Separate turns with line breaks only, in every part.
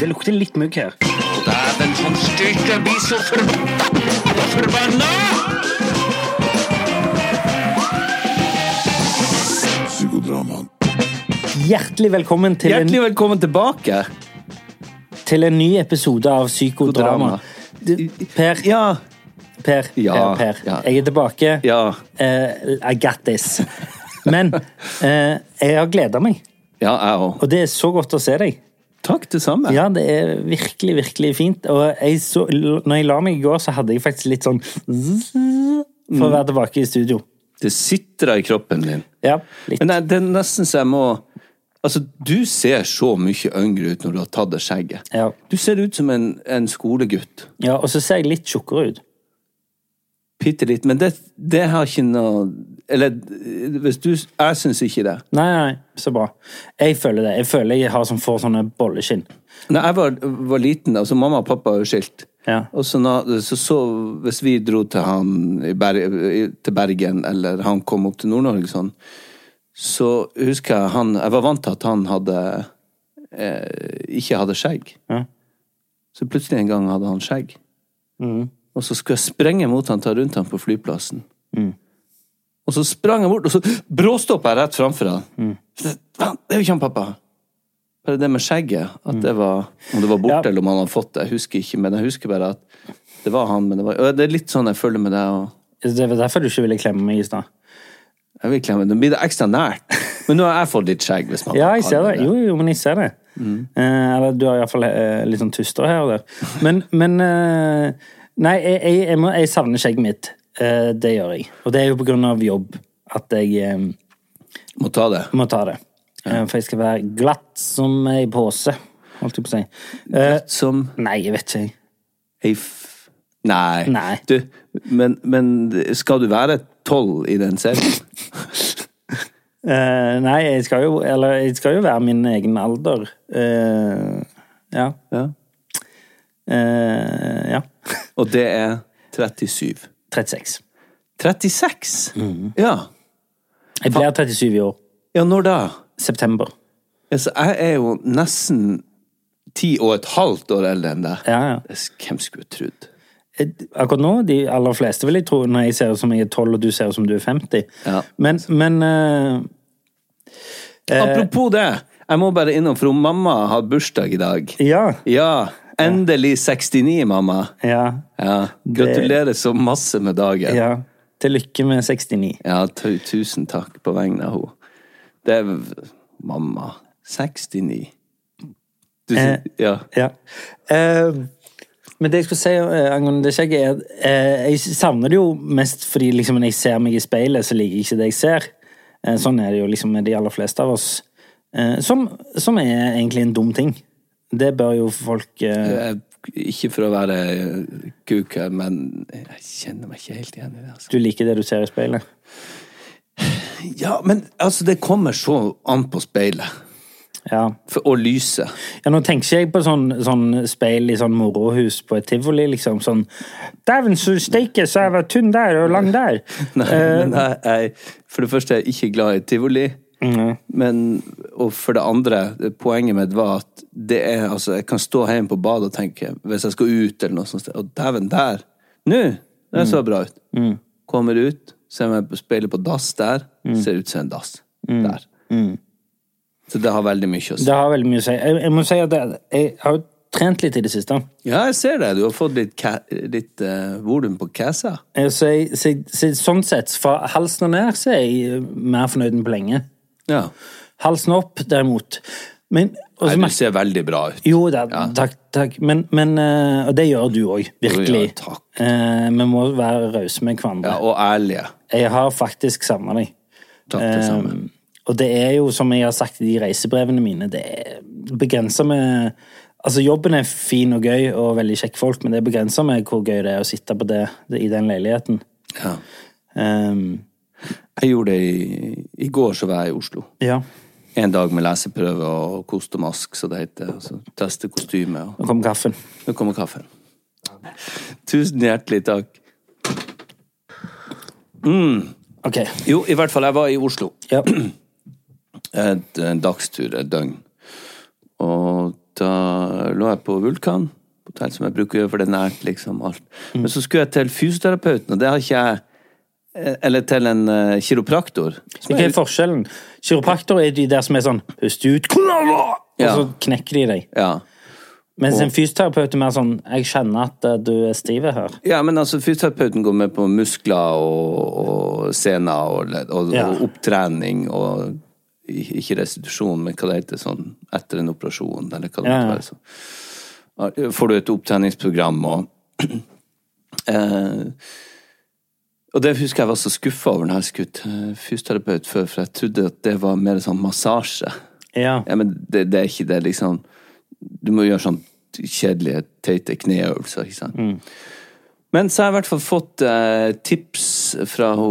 Det lukter litt mugg her.
Dæven, sånn styrke blir så forbanna! Forbanna!
Psykodramaen.
Hjertelig velkommen til,
Hjertelig velkommen tilbake.
en, til en ny episode av Psykodrama.
Psykodrama.
Du, Per,
Ja.
Per,
Ja,
Per, per.
ja.
jeg er tilbake.
Ja.
Eh, I got this. Men eh, jeg har gleda meg,
Ja, jeg òg.
og det er så godt å se deg.
Takk, det samme.
Ja, det er virkelig, virkelig fint. Og jeg så, når jeg la meg i går, så hadde jeg faktisk litt sånn For å være tilbake i studio.
Det sitrer i kroppen din.
Ja, litt.
Men nei, det er nesten så jeg må Altså, du ser så mye yngre ut når du har tatt det skjegget.
Ja.
Du ser ut som en, en skolegutt.
ja, Og så ser jeg litt tjukkere ut.
Bitte litt. Men det, det har ikke noe Eller hvis du Jeg syns ikke det.
Nei, nei, så bra. Jeg føler det. Jeg føler jeg har sånn, får sånne bolleskinn.
Når jeg var, var liten, altså mamma og pappa er jo skilt
Ja.
og så, na- så, så Hvis vi dro til, han i Ber i- til Bergen, eller han kom opp til Nord-Norge, sånn, så husker jeg han Jeg var vant til at han hadde eh, ikke hadde skjegg.
Ja.
Så plutselig en gang hadde han skjegg.
Mm.
Og så skulle jeg sprenge mot han, ta rundt han på flyplassen.
Mm.
Og så sprang jeg bort, og så bråstoppa jeg rett framfor han.
Mm.
Så, "Faen, Det er jo ikke han pappa! Bare det med skjegget, at det var, om det var borte
Ja.
eller om han hadde fått det, jeg husker ikke, men jeg husker bare at det var han. men Det, var, og det er litt sånn jeg føler med deg. og
Det var derfor du ikke ville klemme meg i stad.
jeg vil klemme, Nå blir det ekstra nært. Men nå har jeg fått litt skjegg. hvis man
Ja,
kan
jeg ser
kalle
det. Jo, jo, men jeg ser det. Eh, eller du har iallfall eh, litt sånn tuster her og der. Men, men eh, Nei, jeg, jeg, jeg, må, jeg savner skjegget mitt. Eh, det gjør jeg. Og det er jo på grunn av jobb at jeg eh,
Må ta det.
må ta det. Eh, for jeg skal være glatt som ei pose, holdt jeg på å si. Eh,
Som
nei, jeg vet ikke, jeg.
ei f... Nei.
Nei.
Du, men, men skal du være tolv i den serien?
Eh, nei, jeg skal jo Eller jeg skal jo være min egen alder. Eh, ja.
Ja.
Eh, ja.
Og det er 37.
36.
36?
Mhm.
Ja.
Jeg blir 37 i år.
Ja, når da?
September.
Altså, jeg er jo nesten ti og et halvt år eldre enn deg.
Ja, ja.
Det s- Hvem skulle trodd?
Eh, Akkurat nå, de aller fleste vil jeg tro, når jeg ser ut som jeg er 12 og du ser ut som du er 50.
Ja.
Men, men eh,
Eh. Apropos det, jeg må bare innom, for hun mamma har bursdag i dag.
ja,
Ja, endelig 69, mamma.
ja,
Ja, gratulerer så masse med dagen.
ja. Til lykke med 69.
Ja, tu- tusen takk på vegne av henne. Det er mamma. 69. Du,
Eh.
ja.
Ja. Eh, men det jeg skulle si eh, angående det skjegget, er at eh, jeg savner det jo mest fordi liksom, når jeg ser meg i speilet, så liker jeg ikke det jeg ser. Eh, sånn er det jo liksom med de aller fleste av oss. Eh, som, som er egentlig en dum ting. Det bør jo folk eh,
Jeg, ikke for å være eh, kuk her, men jeg kjenner meg ikke helt igjen i det. Altså.
Du liker det du ser i speilet.
Ja, men altså, det kommer så an på speilet.
Ja.
For, og lyset.
Ja, nå tenker ikke jeg på sånn, sånn speil i sånn morohus på et tivoli, liksom. Sånn Dæven, så steike, så jeg var tynn der og lang der.
Nei, men jeg, jeg, for det første er jeg ikke glad i tivoli. Men, og for det andre, poenget mitt var at det er, altså, jeg kan stå hjemme på badet og tenke Hvis jeg skal ut eller noe sånt sted, Og dæven, der! Nå! Det så bra ut. Kommer ut, ser meg på speilet på dass der. Ser ut som en dass. Der. Så det har veldig mye å si.
Det har veldig mye å si. Jeg, jeg må si at jeg, jeg har jo trent litt i det siste.
Ja, jeg ser det. Du har fått litt, ca- litt eh, volum på kassa.
Eh, Så, jeg, så, jeg, så sånn sett, fra halsen og ned, så er jeg eh, mer fornøyd enn på lenge.
Ja.
Halsen opp, derimot. Men og så
Nei,
merker-
du ser veldig bra ut.
Jo da, takk, takk. Men, men eh, Og det gjør du òg, virkelig.
Jo, ja, takk.
Eh, vi må være rause med hverandre.
Ja, og ærlige.
Jeg har faktisk savna deg.
Takk, det samme.
Um, og det er jo, som jeg har sagt i de reisebrevene mine, det er begrensa med Altså, jobben er fin og gøy og veldig kjekke folk, men det er begrensa med hvor gøy det er å sitte på det, det i den leiligheten.
Ja.
Um,
Jeg gjorde det i, i går, så var jeg i Oslo.
ja.
En dag med leseprøve og kost og mask, så det heter. og så teste kostyme, og
Nå kom kaffen.
nå kommer kaffen. Tusen hjertelig takk.
OK.
Jo, i hvert fall, jeg var i Oslo.
Ja.
Et, en dagstur, et døgn. Og da lå jeg på Vulkan, på hotell som jeg bruker å gjøre, for det er nært, liksom, alt. Men så skulle jeg til fysioterapeuten, og det har ikke jeg eh, Eller til en eh, kiropraktor. som
Hva
er-
er forskjellen? Kiropraktor er de der som er sånn Pust ut, og
Ja.
så knekker de deg.
Ja.
Mens en fysioterapeut er mer sånn Jeg skjønner at eh, du er stiv her.
Ja, men altså, fysioterapeuten går med på muskler og, og sener og, ledd- og,
Ja.
og opptrening og i- ikke restitusjon, men hva det heter sånn etter en operasjon, eller hva det
Ja,
måtte
ja.
være. Så. Ja, Får du et opptreningsprogram og eh, Og det husker jeg var så skuffa over når jeg skulle til fysioterapeut før, for jeg trodde at det var mer sånn massasje.
Ja.
Ja, men det, det er ikke det, liksom. Du må gjøre sånn kjedelige, teite kneøvelser, ikke sant. Men så har jeg i hvert fall fått eh, tips fra ho,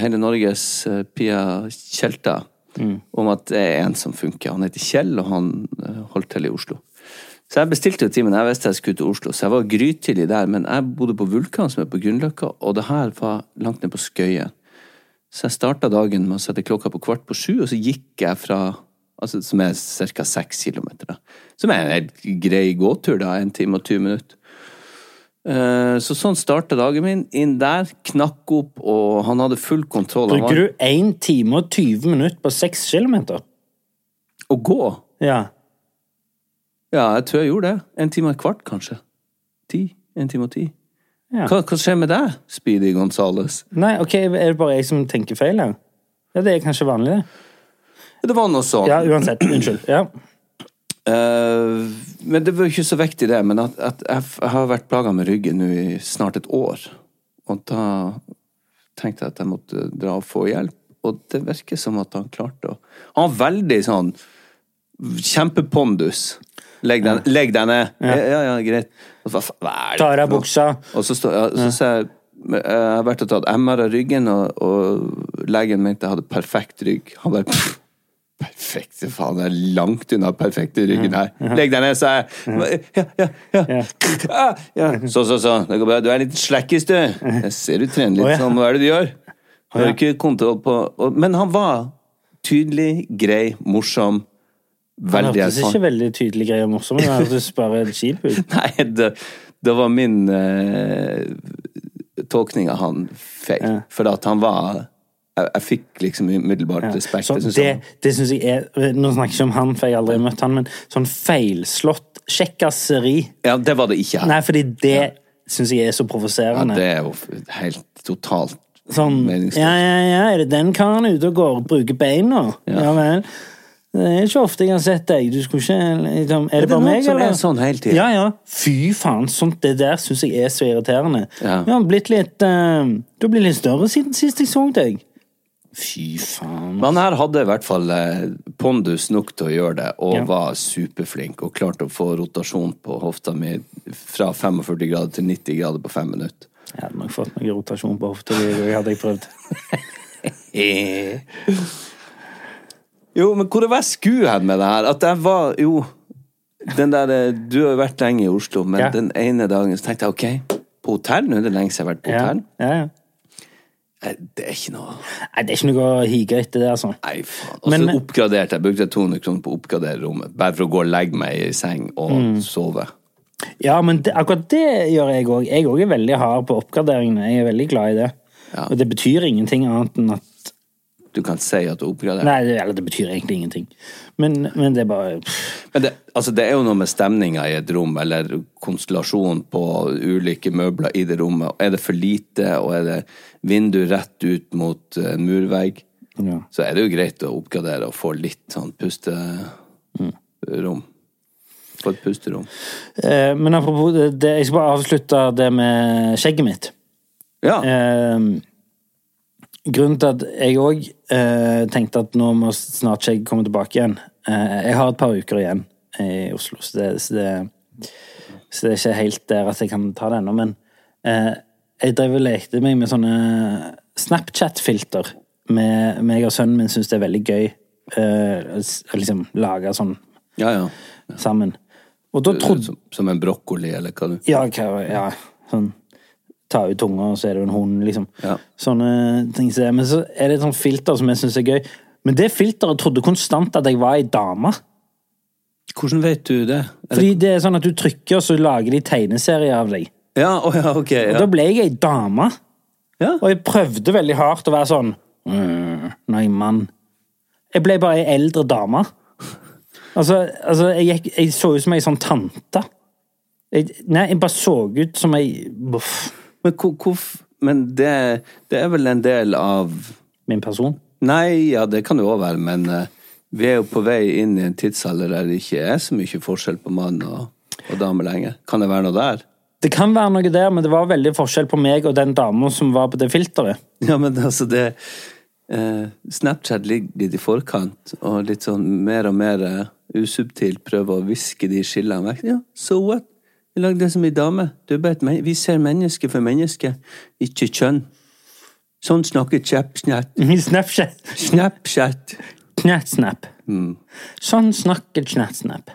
hele Norges eh, Pia Tjelta om at det er en som funker. Han heter Kjell, og han eh, holdt til i Oslo. Så jeg bestilte jo timen. Jeg visste jeg skulle til Oslo, så jeg var grytidlig der. Men jeg bodde på Vulkan, som er på Grünerløkka, og det her var langt ned på Skøyen. Så jeg starta dagen med å sette klokka på kvart på sju, og så gikk jeg fra altså, Som er ca. seks kilometer. Da. Som er en helt grei gåtur, da. En time og 20 minutter. Eh, Så sånn starta dagen min. Inn der, knakk opp, og han hadde full kontroll. Han
Bruker
var,
du 1 time og 20 minutter på 6 kilometer?
å gå?
Ja.
Ja, jeg tror jeg gjorde det. En time og et kvart, kanskje. Ti. En time og ti.
Ja.
Hva, hva skjer med deg, Speedy Gonzales?
Nei, ok, er det bare jeg som tenker feil her? Ja, det er kanskje vanlig, det.
Det var noe sånn.
Ja, uansett. Unnskyld. Ja.
Eh, men det var jo ikke så vektig, det. Men at, at jeg, f- jeg har vært plaga med ryggen nå i snart et år. Og da tenkte jeg at jeg måtte dra og få hjelp. Og det virker som at han klarte å Han var veldig sånn Kjempepondus. Legg deg, legg deg ned. Ja, ja, ja greit. Og Hva, fa- hva er det
Ta av deg
for noe?
buksa.
Og så, står- ja, så sa jeg men jeg har vært og tatt MR av ryggen, og, og legen mente jeg hadde perfekt rygg. Han bare «Pff, Perfekt? Faen, det er langt unna perfekt i ryggen her. Legg deg ned, sa jeg. Ja, ja, ja. Ah, ja. Så, så, så. Det går bra. Du er litt slakkis, du. Jeg ser du trener
Å, ja.
litt sånn. Hva er det du gjør? Har du ikke kontroll på og- Men han var tydelig, grei, morsom.
Han
Veldig sånn.
hørtes
erfaren.
ikke veldig tydelig grei og morsom ut. Han hørtes bare kjip ut.
Nei, det, det var min eh, tolkning av han feil. For at han var Jeg, jeg fikk liksom umiddelbart respekt.
Så
Jeg synes
det,
han-
det syns jeg er Nå snakker jeg ikke om han, for jeg har aldri møtt han, men sånn feilslått kjekkaseri
ja, det var det ikke her.
Nei, fordi det syns jeg er så
Ja,
provoserende.
det er jo f- helt totalt
Sånn
meningsløst.
Ja, ja, ja, er det den karen ute og går og bruker beina? Ja. vel. Det er ikke ofte jeg har sett deg. Du skulle ikke liksom, Er det,
det
bare
noen
meg,
som
eller?
er sånn hele tiden?
Ja, ja. Fy faen, sånt det der syns jeg er så irriterende.
Ja.
Du har blitt litt eh, Du har blitt litt større siden sist jeg så deg. Fy faen.
Men han her hadde i hvert fall eh, pondus nok til å gjøre det, og
Ja.
var superflink og klarte å få rotasjon på hofta mi fra 45 grader til 90 grader på fem minutter.
Jeg hadde nok fått noe rotasjon på hofta di, det hadde jeg prøvd.
Eh. Jo, men hvor var jeg sku hen med det her? At jeg var Jo, den der eh, Du har jo vært lenge i Oslo, men
Ja.
den ene dagen så tenkte jeg OK, på hotell? Nå er det lenge siden jeg har vært på
Ja.
hotell.
Ja, ja.
Eh, Det er ikke noe
Nei, det er ikke noe å hige etter, det, altså.
Nei, faen. Og så
Men-
oppgraderte jeg. Brukte 200 kroner på å oppgradere rommet. Bare for å gå og legge meg i seng og
Mm.
sove.
Ja, men det, akkurat det gjør jeg òg. Jeg òg er veldig hard på oppgraderingene. Jeg er veldig glad i det.
Ja.
Og det betyr ingenting annet enn at
Du kan si at du oppgraderer.
Nei, det, eller det betyr egentlig ingenting. Men, men det er bare pff.
Men det, altså, det er jo noe med stemninga i et rom, eller konstellasjonen på ulike møbler i det rommet. Er det for lite, og er det vindu rett ut mot eh, en murvegg,
ja.
så er det jo greit å oppgradere og få litt sånn pusterom. Få et pusterom.
Eh, Men apropos det, det, jeg skal bare avslutte det med skjegget mitt.
Ja.
Eh, grunnen til at jeg òg eh, tenkte at nå må snart skjegget komme tilbake igjen eh, Jeg har et par uker igjen i Oslo, så det, så det, så det er ikke helt der at jeg kan ta det ennå, men eh, jeg drev og lekte meg med sånne Snapchat-filter. Med, meg og sønnen min syns det er veldig gøy eh, å s- å liksom lage sånn
ja, ja.
sammen. Og da trodde
Som, som en brokkoli, eller hva du
ja, hva- ja sånn Ta ut tunga, og så er det jo en hund, liksom.
Ja.
Sånne ting som det. Men så er det et sånt filter som jeg syns er gøy. Men det filteret trodde konstant at jeg var ei dame.
Hvordan vet du det? Eller,
Fordi det er sånn at du trykker, og så lager de tegneserier av deg.
ja, å ja,
Og
ok. Ja.
da ble jeg ei dame.
Ja.
Og jeg prøvde veldig hardt å være sånn «Mm, Nei, mann. Jeg ble bare ei eldre dame. Altså, altså jeg, gikk, jeg så ut som ei sånn tante. Jeg, nei, jeg bare så ut som ei Uff.
Men, hvor- hvorf- men det, det er vel en del av
Min person.
Nei, ja, det kan det òg være, men eh, vi er jo på vei inn i en tidsalder der det ikke er så mye forskjell på mann og, og dame lenger. Kan det være noe der?
Det kan være noe der, men det var veldig forskjell på meg og den dama som var på det filteret.
Ja, men altså, det eh, Snapchat ligger litt i forkant, og litt sånn mer og mer eh, usubtilt prøver å viske de skillene vekk. Ja, so what? Vi lagde det som ei dame. Du er bare et men vi ser menneske for menneske, ikke kjønn. Sånn snakker Snapchat.
Snapchat.
Snapchat.
Knætsnap.
Mm.
Sånn snakker knætsnap.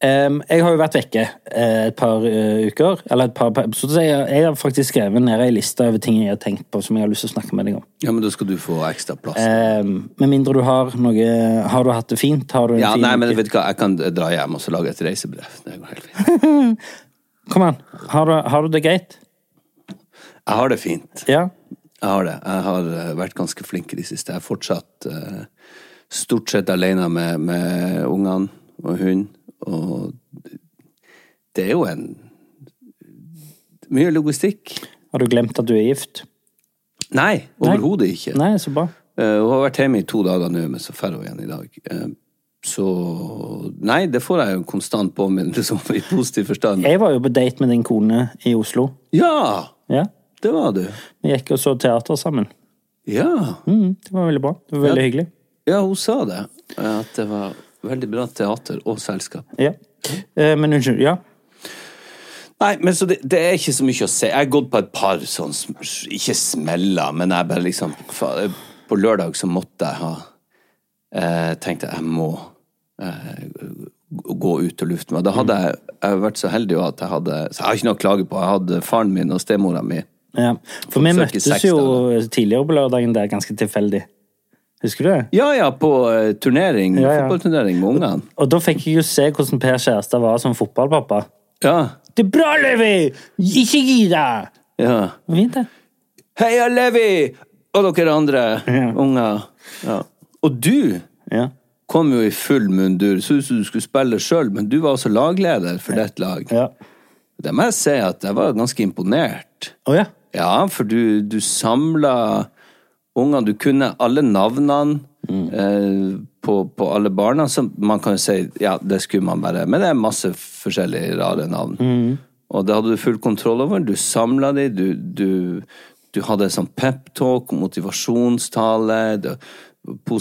Em, jeg har jo vært vekke eh, et par eh, uker, eller et par, par episoder, så jeg, jeg har faktisk skrevet ned ei liste over ting jeg har tenkt på som jeg har lyst til å snakke med deg om.
Ja, men da skal du få ekstra plass.
Em, med mindre du har noe Har du hatt det fint? Har du en
Ja,
fin
nei, men
uke?
vet du hva, jeg kan dra hjem og så lage et reisebrev. Det går helt fint.
Kom an. Har du, har du det greit?
Jeg har det fint.
Ja?
Jeg har det. Jeg har eh, vært ganske flink i det siste. Jeg er fortsatt eh, stort sett alene med, med ungene og hund, og det er jo en Mye logistikk.
Har du glemt at du er gift?
Nei, overhodet ikke.
Nei, så bra.
Eh, hun har vært hjemme i to dager nå, men så drar hun igjen i dag. Eh, så Nei, det får jeg jo en konstant påminnelse om i positiv forstand.
Jeg var jo på date med din kone i Oslo.
Ja!
Ja.
Det var du.
Vi gikk og så teater sammen.
Ja.
Mm, det var veldig bra. Det var veldig hyggelig.
ja, hun sa det. At det var veldig bra teater og selskap.
Ja. Eh, men unnskyld. Ja.
Nei, men så det, det er ikke så mye å se. Jeg har gått på et par sånn sm- Ikke smeller, men jeg bare liksom fa- På lørdag så måtte jeg ha eh, Tenkte jeg må eh, g- gå ut og lufte meg. Da hadde jeg, jeg har vært så heldig også at jeg hadde Så jeg har ikke noe å klage på. Jeg hadde faren min og stemora mi.
Ja, for vi
Folk søker
møttes
sex,
jo tidligere på lørdagen der, ganske tilfeldig. Husker du det?
Ja ja, på eh, turnering.
Ja, ja.
Fotballturnering med ungene.
Og da fikk jeg jo se hvordan Per Kjærstad var som fotballpappa.
Ja.
Det er bra, Levi! Ikke gi deg!
ja.
Det var Fint, det.
Heia Levi! Og dere andre
Ja.
unger. Ja. Og du
Ja.
kom jo i full mundur. Så ut som du skulle spille sjøl, men du var også lagleder for ditt lag.
ja.
Det må jeg si at jeg var ganske imponert.
Å ja.
Ja, for du, du samla ungene. Du kunne alle navnene eh, på, på alle barna. Så man kan jo si ja, det skulle man bare Men det er masse forskjellige rare navn. Og det hadde du full kontroll over. Du samla de, du, du, du hadde sånn peptalk, motivasjonstale, det-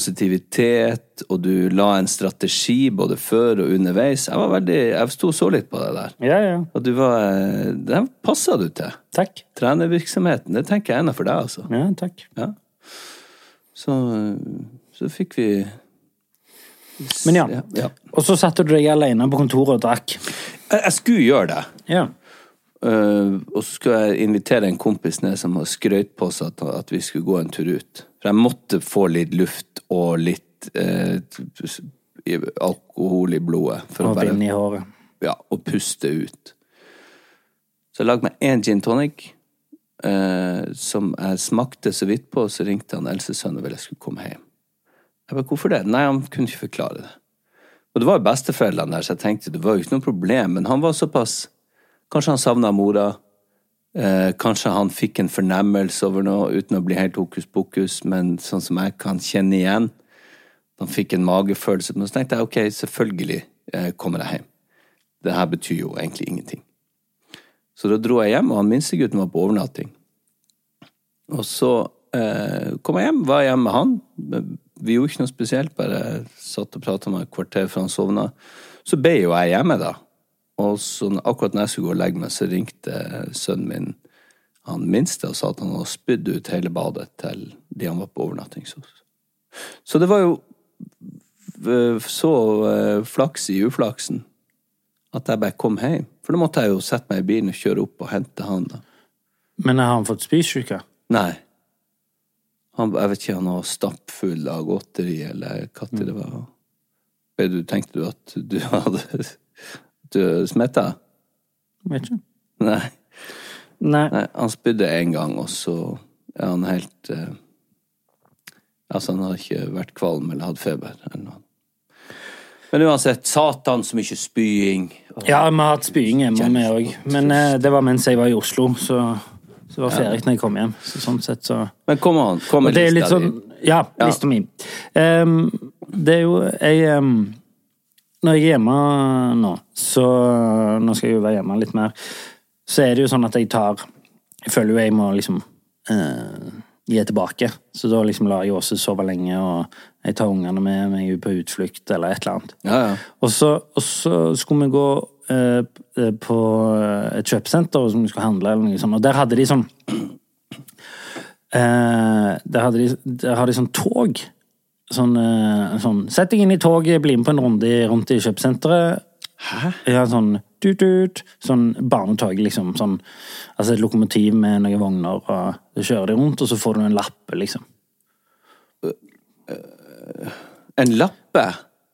positivitet, og du la en strategi både før og underveis. Jeg var veldig, jeg sto og så litt på det der.
Ja, ja.
Og du var eh, Den passa du til
Takk.
trenervirksomheten. Det tenker jeg er noe for deg, altså.
Ja, takk.
Ja. Så, eh, så fikk vi
Men ja.
Ja, ja.
Og så satte du deg alene på kontoret og drakk.
Jeg, jeg skulle gjøre det.
Ja.
Eh, og så skulle jeg invitere en kompis ned som har skrøyt på seg at, at vi skulle gå en tur ut. For jeg måtte få litt luft og litt eh, i- alkohol i blodet. For å
Og
bare
bind i håret.
ja, og puste ut. Så jeg lagde meg én gin tonic, eh, som jeg smakte så vidt på, og så ringte han Elses sønn og ville jeg skulle komme hjem. Jeg bare, hvorfor det? Nei, han kunne ikke forklare det. Og det var jo besteforeldrene der, så jeg tenkte det var jo ikke noe problem, men han var såpass Kanskje han savna mora. Eh, kanskje han fikk en fornemmelse over noe uten å bli helt hokus pokus, men sånn som jeg kan kjenne igjen. Han fikk en magefølelse, men så tenkte jeg ok, selvfølgelig eh, kommer jeg hjem det her betyr jo egentlig ingenting. Så da dro jeg hjem, og han minstegutten var på overnatting. Og så eh, kom jeg hjem, var hjemme med han. Men Vi gjorde ikke noe spesielt, bare satt og prata med et kvarter før han sovna. Så ble jo jeg hjemme, da. Og så n- akkurat når jeg skulle gå og legge meg, så ringte sønnen min han minste og sa at han hadde spydd ut hele badet til de han var på overnatting hos. Så det var jo eh, så eh, flaks i uflaksen at jeg bare kom hjem. For da måtte jeg jo sette meg i bilen og kjøre opp og hente han. da.
Men har han fått spysjuke?
Nei. Han, jeg vet ikke, han var stappfull av godteri, eller hva til det
Mm.
var. Vet Du, tenkte du at du hadde du smitta?
Vet ikke.
Nei.
Nei.
Nei. Han spydde én gang, og så er han helt eh, Altså, han har ikke vært kvalm eller hatt feber eller noe. Men uansett, satan så mye spying.
Ja, vi har hatt spying hjemme, vi òg. Men eh, det var mens jeg var i Oslo, så, så var ferdig når jeg kom hjem. Så sånn sett, så
Men kom an, kom
Og
med
det er jo litt
lista
sånn
di.
Ja, lista mi. Ehm, det er jo Jeg ehm, Når jeg er hjemme nå, så Nå skal jeg jo være hjemme litt mer, så er det jo sånn at jeg tar Jeg føler jo jeg må liksom eh, gi tilbake. Så da liksom lar jeg Åse sove lenge, og jeg tar ungene med meg ut på utflukt eller et eller annet.
Ja, ja.
Og så, og så skulle vi gå eh, p- på eh, et kjøpesenter som vi skulle handle, eller noe sånt, og der hadde de sånn Eh, der, hadde de, der har de sånn tog. Sånn, eh, sånn Sett deg inn i toget, bli med på en runde i- rundt i kjøpesenteret. Hæ? Ja, sånn tut-tut. Sånn barnetog, liksom. Sånn, altså et lokomotiv med noen vogner, og så kjører de rundt, og så får du en lapp, liksom.
En lappe?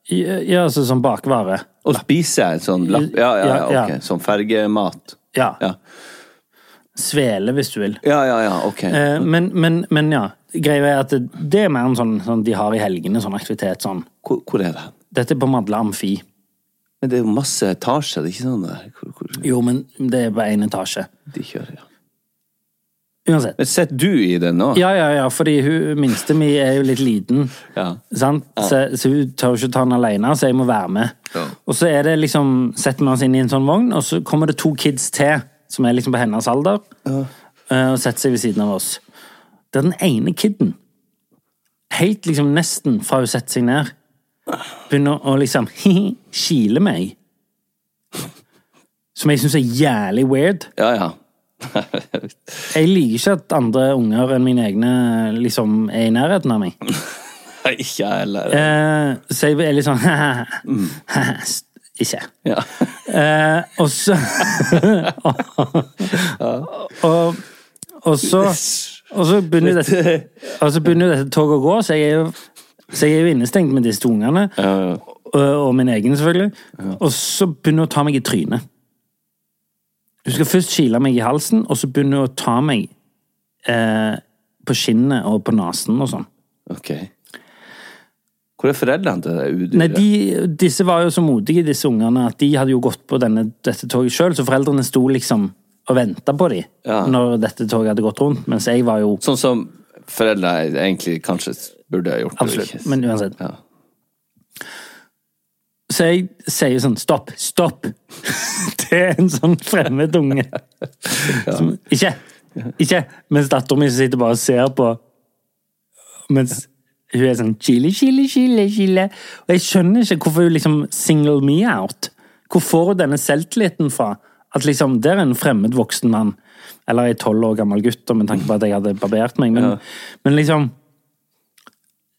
Ja, ja, altså sånn bakvare.
Og spise en sånn lapp? Ja, ja, ja,
Ja, ja.
ok. Sånn fergemat.
Ja.
Ja.
Svele, hvis du vil.
Ja, ja, ja, ok.
Eh, men, men, men ja. Greia er at det, det er mer en sånn, sånn de har i helgene, sånn aktivitet sånn.
Hvor, hvor er det? hen?
Dette er på Madla Amfi.
Men det er jo masse etasjer, det er ikke sånn det er? Hvor, hvor
Jo, men det er bare én etasje.
de kjører, ja.
Uansett.
Men sitter du i det nå?
Ja, ja, ja, fordi hun minste mi er jo litt liten.
Ja.
Sant? Så, så hun tør ikke ta den alene, så jeg må være med. Og så er det liksom, setter vi oss inn i en sånn vogn, og så kommer det to kids til, som er liksom på hennes alder, eh, og setter seg ved siden av oss. Det er den ene kiden, helt liksom nesten fra hun setter seg ned, begynner å liksom kile meg. Som jeg syns er jævlig weird.
Ja, ja.
Jeg liker ikke at andre unger enn mine egne liksom er i nærheten av meg.
Nei, ikke jeg heller.
Eh, så jeg er litt sånn Ikke.
Ja.
Eh, og så og, og så Og så begynner jo dette, og så begynner jo dette toget å gå, så jeg er jo, så jeg er jo innestengt med disse to ungene. Og, og min egen, selvfølgelig. Og så begynner hun å ta meg i trynet. Hun skal først kile meg i halsen, og så begynner hun å ta meg eh, på skinnet og på nesen og sånn.
Ok. Hvor er foreldrene til det udyret?
Nei, de, disse var jo så modige, disse ungene, at de hadde jo gått på denne, dette toget sjøl, så foreldrene sto liksom og venta på dem
Ja.
når dette toget hadde gått rundt, mens jeg var jo
Sånn som foreldre egentlig kanskje burde ha gjort. det,
Absolutt.
ikke?
Men uansett.
Ja.
Så jeg sier sånn Stopp! Stopp! Det er en sånn fremmed unge. Som, ikke! Ikke! Mens datteren min sitter bare og ser på. Mens hun er sånn Chile, chile, chile, chile. Og jeg skjønner ikke hvorfor hun liksom single me out. Hvor får hun denne selvtilliten fra? At liksom, der er en fremmed voksen mann. Eller en tolv år gammel gutt, og med tanke på at jeg hadde barbert meg. Men, men liksom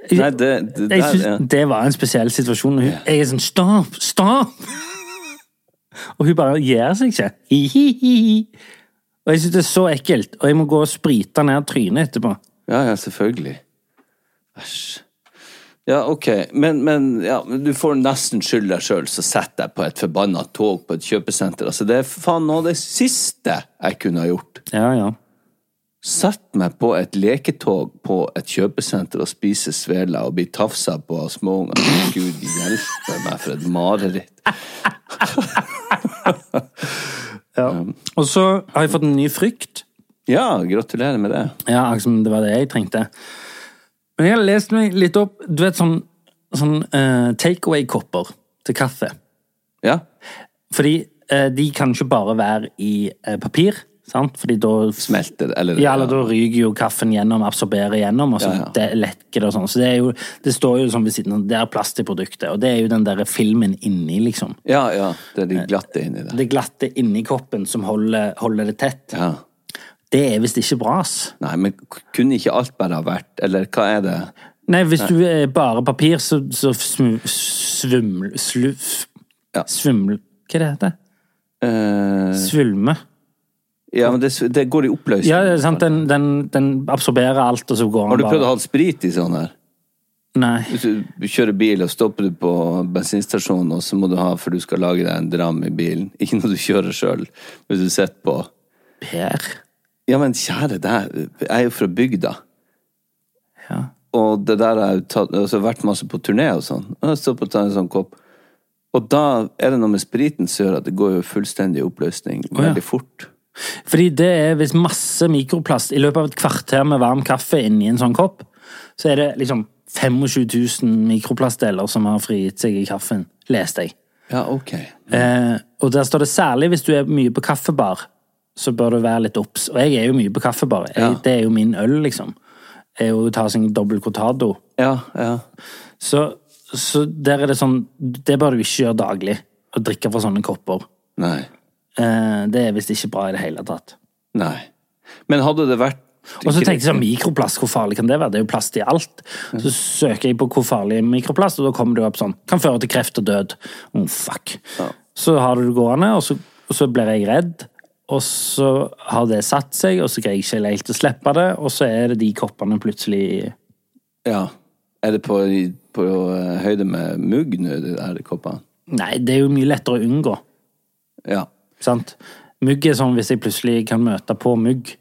Nei, det, det,
jeg
der,
synes
ja.
Det var en spesiell situasjon. og Hun, jeg er sånn Stopp! Stopp! og hun bare gir seg ikke. Hi-hi-hi. Og jeg syns det er så ekkelt. Og jeg må gå og sprite ned trynet etterpå.
Ja, ja, selvfølgelig. Æsj. Ja, ok, men, men, ja, men du får nesten skyld deg sjøl, så sett deg på et forbanna tog på et kjøpesenter. Altså, det er faen noe av det siste jeg kunne ha gjort.
Ja, ja.
Sett meg på et leketog på et kjøpesenter og spise sveler og bli tafsa på av småunger. Gud hjelpe meg for et mareritt.
Og så har jeg fått en ny frykt.
Ja, gratulerer med det.
Ja, akkurat som det var det jeg trengte. Men jeg har lest meg litt opp Du vet sånn, sånn eh, takeaway-kopper til kaffe.
Ja,
Fordi eh, de kan ikke bare være i eh, papir. Sant? Fordi da
Smelter det, eller
Ja, eller da ryker jo kaffen gjennom, absorberer gjennom, og så
Ja, ja.
det lekker det og sånn. Så det er jo Det står jo sånn ved siden av Det er plast i produktet, og det er jo den derre filmen inni, liksom.
Ja, ja. Det er de glatte inni der.
Det glatte inni koppen som holder, holder det tett.
Ja.
Det er visst ikke bra, ass.
Nei, men k- kunne ikke alt bare ha vært Eller hva er det?
Nei, hvis du er bare papir, så, så smu- svuml... Slu, f-
Ja.
Svuml... Hva det heter det?
Eh,
Svulme.
ja, men det, s- det går i oppløsning.
Ja, det er sant. Den, den, den absorberer alt, og så går den
Har du prøvd å
bare
ha sprit i sånn her?
Nei.
Hvis du kjører bil og stopper du på bensinstasjonen, og så må du ha for du skal lage deg en dram i bilen. Ikke når du kjører sjøl, hvis du sitter på
Per?
Ja, men kjære deg, jeg er jo fra bygda.
Ja.
Og det der har jeg jo tatt, altså, vært masse på turné og sånn. Og jeg står på og tar en sånn kopp. Og da er det noe med spriten som gjør at det går jo fullstendig i oppløsning
ja.
veldig fort.
Fordi det er hvis masse mikroplast i løpet av et kvarter med varm kaffe inni en sånn kopp, så er det liksom 25 000 mikroplastdeler som har frigitt seg i kaffen, leste jeg.
Ja, ok.
Eh, og der står det særlig hvis du er mye på kaffebar, så bør du være litt obs. Og jeg er jo mye på kaffebar. Jeg,
Ja.
Det er jo min øl, liksom. Jeg er jo tar seg en dobbel cortado.
Ja, ja.
Så, så der er det sånn Det bør du ikke gjøre daglig. Å drikke fra sånne kopper.
Nei.
Eh, det er visst ikke bra i det hele tatt.
Nei. Men hadde det vært
Og så tenkte jeg sånn, mikroplast, hvor farlig kan det være? Det er jo plast i alt. Så søker jeg på hvor farlig er mikroplast, og da kommer det jo opp sånn, kan føre til kreft og død. Oh, fuck. Så har du det gående, og så, og så blir jeg redd, og så har det satt seg, og så greier jeg ikke helt å slippe det, og så er det de koppene plutselig
Ja. Er det på, på eh, høyde med mugg nå, de der koppene?
Nei, det er jo mye lettere å unngå,
Ja.
sant? Mugg er sånn, hvis jeg plutselig kan møte på mugg,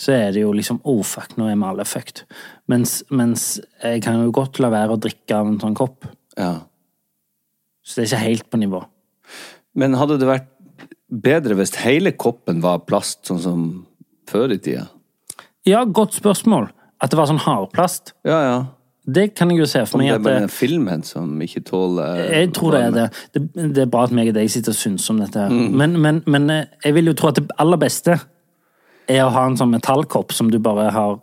så er det jo liksom, oh fuck, nå er vi alle fucked. Mens, mens jeg kan jo godt la være å drikke av en sånn kopp.
ja.
Så det er ikke helt på nivå.
Men hadde det vært bedre hvis hele koppen var plast, sånn som før i tida?
Ja, godt spørsmål. At det var sånn hardplast.
Ja, ja.
Det kan jeg jo se for
Om det
meg
er
at
bare
det,
den filmen som ikke tåler
Jeg tror det er det. det. Det er bra at meg og deg sitter og syns om dette. her.
Mm.
Men, men, men eh, jeg vil jo tro at det aller beste er å ha en sånn metallkopp som du bare har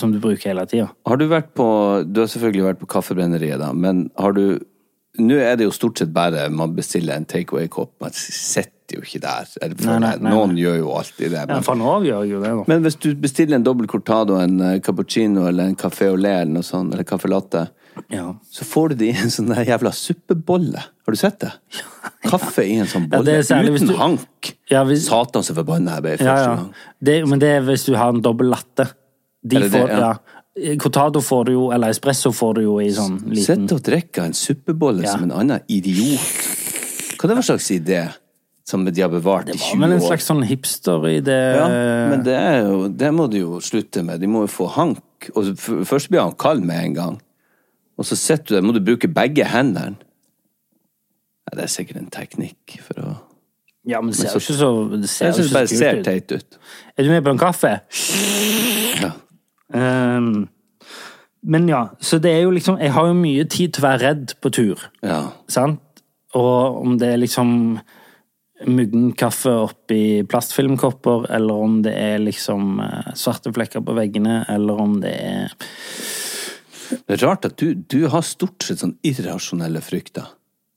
Som du bruker hele tida.
Har du vært på Du har selvfølgelig vært på Kaffebrenneriet, da, men har du Nå er det jo stort sett bare man bestiller en takeaway-kopp. Man sitter jo ikke der. Eller,
Nei, nei, nei,
Noen gjør jo alltid det.
Ja,
Men,
fra nå av gjør jeg jo det, da.
men hvis du bestiller en dobbel cortado, en eh, cappuccino eller en café au lait eller noe sånt, eller caffè latte,
Ja.
så får du det i en sånn der jævla suppebolle. Har du sett det? Kaffe i en sånn
Ja,
bolle
det er særlig hvis
uten
du-
hank.
Ja, hvis-
Satan så forbanna jeg ble
Ja,
første
ja.
gang.
Det, men det er hvis du har en dobbel latte. De
Er det det,
får, ja.
ja?
Cortado får du jo, eller espresso får du jo i sånn liten
Sitte og drikke en suppebolle
Ja.
som en annen idiot. Hva det var slags idé som de har bevart i
Det
20
var vel en
år?
slags sånn hipster i det eh,
ja, men det, er jo, det må de jo slutte med. De må jo få hank. Og så f- først blir han kald med en gang. Og så sitter du der, må du bruke begge hendene. Ja, det er sikkert en teknikk for å
Ja, men det ser jo ikke så Det ser
Jeg
jo
syns det
ikke
bare
så
ser
kult ut.
teit ut.
Er du med på en kaffe?
Ja.
Ehm, men ja, så det er jo liksom Jeg har jo mye tid til å være redd på tur,
ja.
sant? Og om det er liksom muggen kaffe oppi plastfilmkopper, eller om det er liksom eh, svarte flekker på veggene, eller om det er
Det er rart at du, du har stort sett sånn irrasjonelle frykter.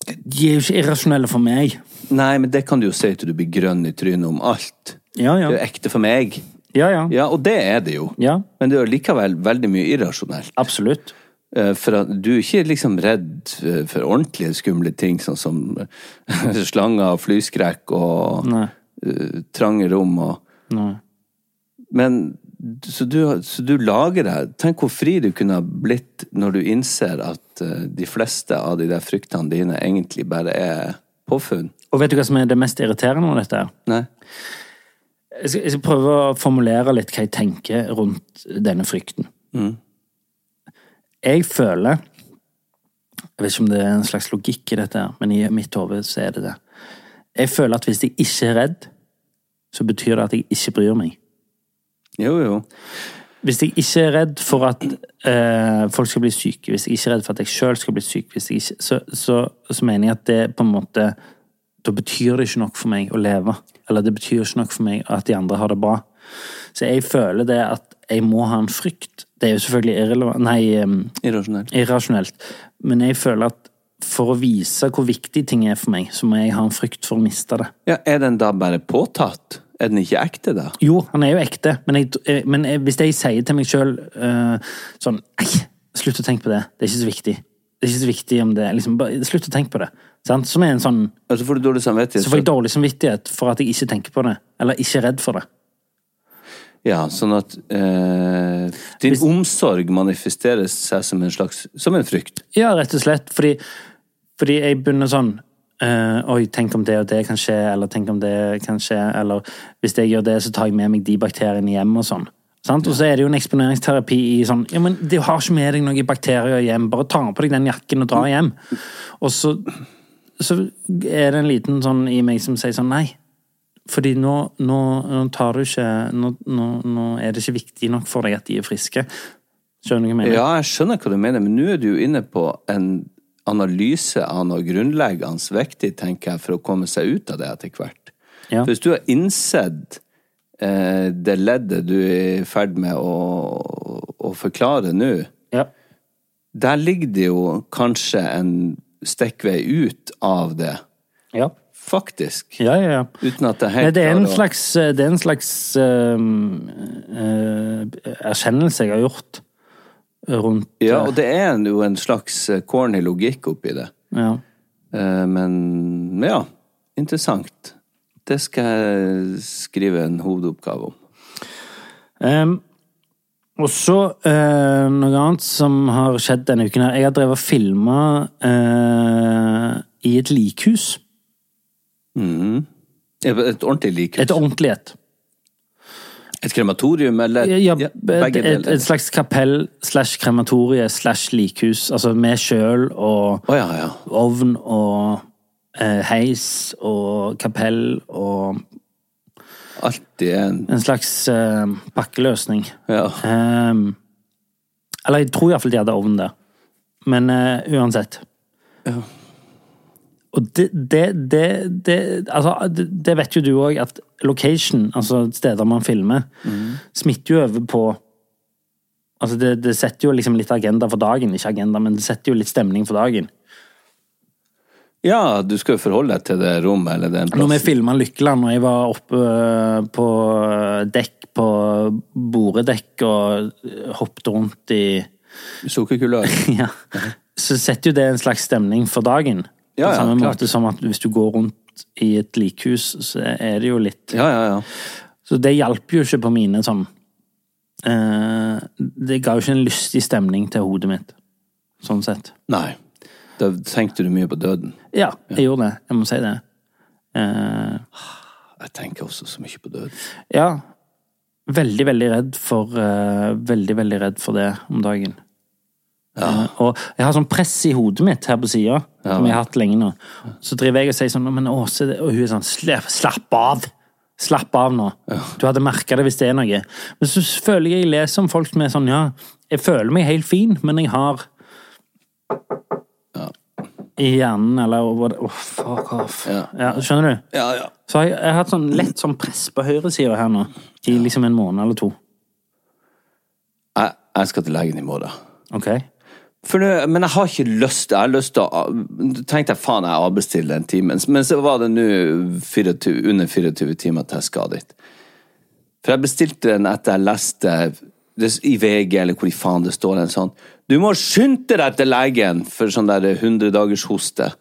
De er jo ikke irrasjonelle for meg.
Nei, men det kan du jo si til du blir grønn i trynet om alt.
Ja, ja.
Det er ekte for meg.
Ja, ja.
Ja, og det er det jo.
Ja.
Men det er jo likevel veldig mye irrasjonelt.
Absolutt.
Eh, For at du er ikke liksom redd eh, for ordentlige skumle ting, sånn som eh, slanger og flyskrekk og
Nei.
eh, trange rom og
Nei.
Men så du, så du lager deg Tenk hvor fri du kunne ha blitt når du innser at eh, de fleste av de der fryktene dine egentlig bare er påfunn.
Og vet du hva som er det mest irriterende med dette? her?
Nei?
Jeg skal, jeg skal prøve å formulere litt hva jeg tenker rundt denne frykten. Jeg føler Jeg vet ikke om det er en slags logikk i dette, her, men i mitt hode så er det det. Jeg føler at hvis jeg ikke er redd, så betyr det at jeg ikke bryr meg.
Jo, jo.
Hvis jeg ikke er redd for at eh, folk skal bli syke, hvis jeg ikke er redd for at jeg sjøl skal bli syk, hvis jeg ikke, så, så, så mener jeg at det på en måte Da betyr det ikke nok for meg å leve. Eller det betyr jo ikke nok for meg at de andre har det bra. Så jeg føler det at jeg må ha en frykt. Det er jo selvfølgelig irrelevant Nei, em,
Irrasjonelt.
irrasjonelt. Men jeg føler at for å vise hvor viktig ting er for meg, så må jeg ha en frykt for å miste det.
Ja, er den da bare påtatt? Er den ikke ekte, da?
Jo, han er jo ekte, men, jeg, eh, men jeg, hvis jeg sier til meg sjøl sånn Ei, slutt å tenke på det. Det er ikke så viktig. Det er ikke så viktig om det liksom, bare, Slutt å tenke på det. Sant? Som er en sånn
Og så Altså, får du dårlig samvittighet.
Så får jeg dårlig samvittighet for at jeg ikke tenker på det. Eller ikke er redd for det.
Ja, sånn at eh, din
Hvis-
omsorg manifesterer seg som en slags Som en frykt.
Ja, rett og slett. Fordi, fordi jeg begynner sånn eh, Oi, tenk om det og det kan skje, eller tenk om det kan skje, eller hvis jeg gjør det, så tar jeg med meg de bakteriene hjem og sånn. Sant? Og så er det jo en eksponeringsterapi i sånn Ja, men du har ikke med deg noen bakterier hjem, bare ta på deg den jakken og dra hjem. Og så, så er det en liten sånn i meg som sier sånn Nei. Fordi nå, nå, nå tar du ikke nå, nå, nå er det ikke viktig nok for deg at de er friske. Skjønner du hva jeg mener?
Ja, jeg skjønner hva du mener, men nå er du jo inne på en analyse av noe grunnleggende viktig, tenker jeg, for å komme seg ut av det etter hvert.
Ja.
For Hvis du har innsett eh, det leddet du er i ferd med å, å forklare nå,
Ja.
der ligger det jo kanskje en stikkvei ut av det,
ja.
faktisk.
Ja, ja, ja.
Uten at det er helt
Nei, det er en
klart å-
slags, eh, det er en slags ehm, eh, erkjennelse jeg har gjort rundt
Ja, og det er en- jo en slags eh, corny logikk oppi det.
ja.
Eh, Men men ja, interessant. Det skal jeg skrive en hovedoppgave om.
Ehm, og så eh, noe annet som har skjedd denne uken her. Jeg har drevet og filma i et likhus.
Et et ordentlig likhus.
Et
Et,
ordentlig et.
krematorium, eller?
Ja,
Ja,
et,
begge
et,
deler.
et slags kapell slash krematorie slash likhus. Altså med kjøl og
Å ja, ja.
ovn og eh, heis og kapell og
Alltid en
en slags eh, pakkeløsning.
ja.
Ehm, eller jeg tror iallfall de hadde ovn der. Men eh, uansett. Og det, det, det, det Altså, det, det vet jo du òg, at location, altså steder man filmer, smitter jo over på Altså, det, det setter jo liksom litt agenda for dagen. Ikke agenda, men det setter jo litt stemning for dagen.
ja, du skal jo forholde deg til det rommet eller den
Når vi
plassen.
filma Lykkeland, og jeg var oppe øh, på øh, dekk, på boredekk, og øh, hoppet rundt i
Sukkerkulør.
ja, Så setter jo det en slags stemning for dagen.
Ja,
på
ja,
samme
klart.
måte som at hvis du går rundt i et likhus, så er det jo litt
Ja, ja, ja.
Så det hjalp jo ikke på mine sånn eh, Det ga jo ikke en lystig stemning til hodet mitt, sånn sett.
Nei. Da tenkte du mye på døden.
Ja, jeg gjorde det. Jeg må si det. Eh,
Jeg tenker også så mye på døden.
Ja. Veldig, veldig redd for eh, Veldig, veldig redd for det om dagen. Eh, og jeg har sånn press i hodet mitt her på sida, som jeg har hatt lenge nå. Så driver jeg og sier sånn Men Åse det- Og hun er sånn «Slapp- Slapp av! Slapp av nå. Du hadde merka det hvis det er noe. Men så føler jeg jeg leser om folk som er sånn Ja, jeg føler meg helt fin, men jeg har I hjernen, eller Åh, fuck off.
Ja.
Ja, skjønner du?
Ja, ja.
Så har jeg, jeg har hatt sånn lett sånn press på høyresida her nå, i liksom en måned eller to.
Jeg, jeg skal til legen i morgen.
Ok?
For det, men jeg har ikke lyst Jeg har lyst til å tenkte jeg faen, jeg avbestiller den timen. Men så var det nå 24 under 24 timer til jeg skal dit. For jeg bestilte den etter jeg leste det, i VG, eller hvor i faen det står en sånn Du må skynde deg til legen for sånn der 100 dagers hoste.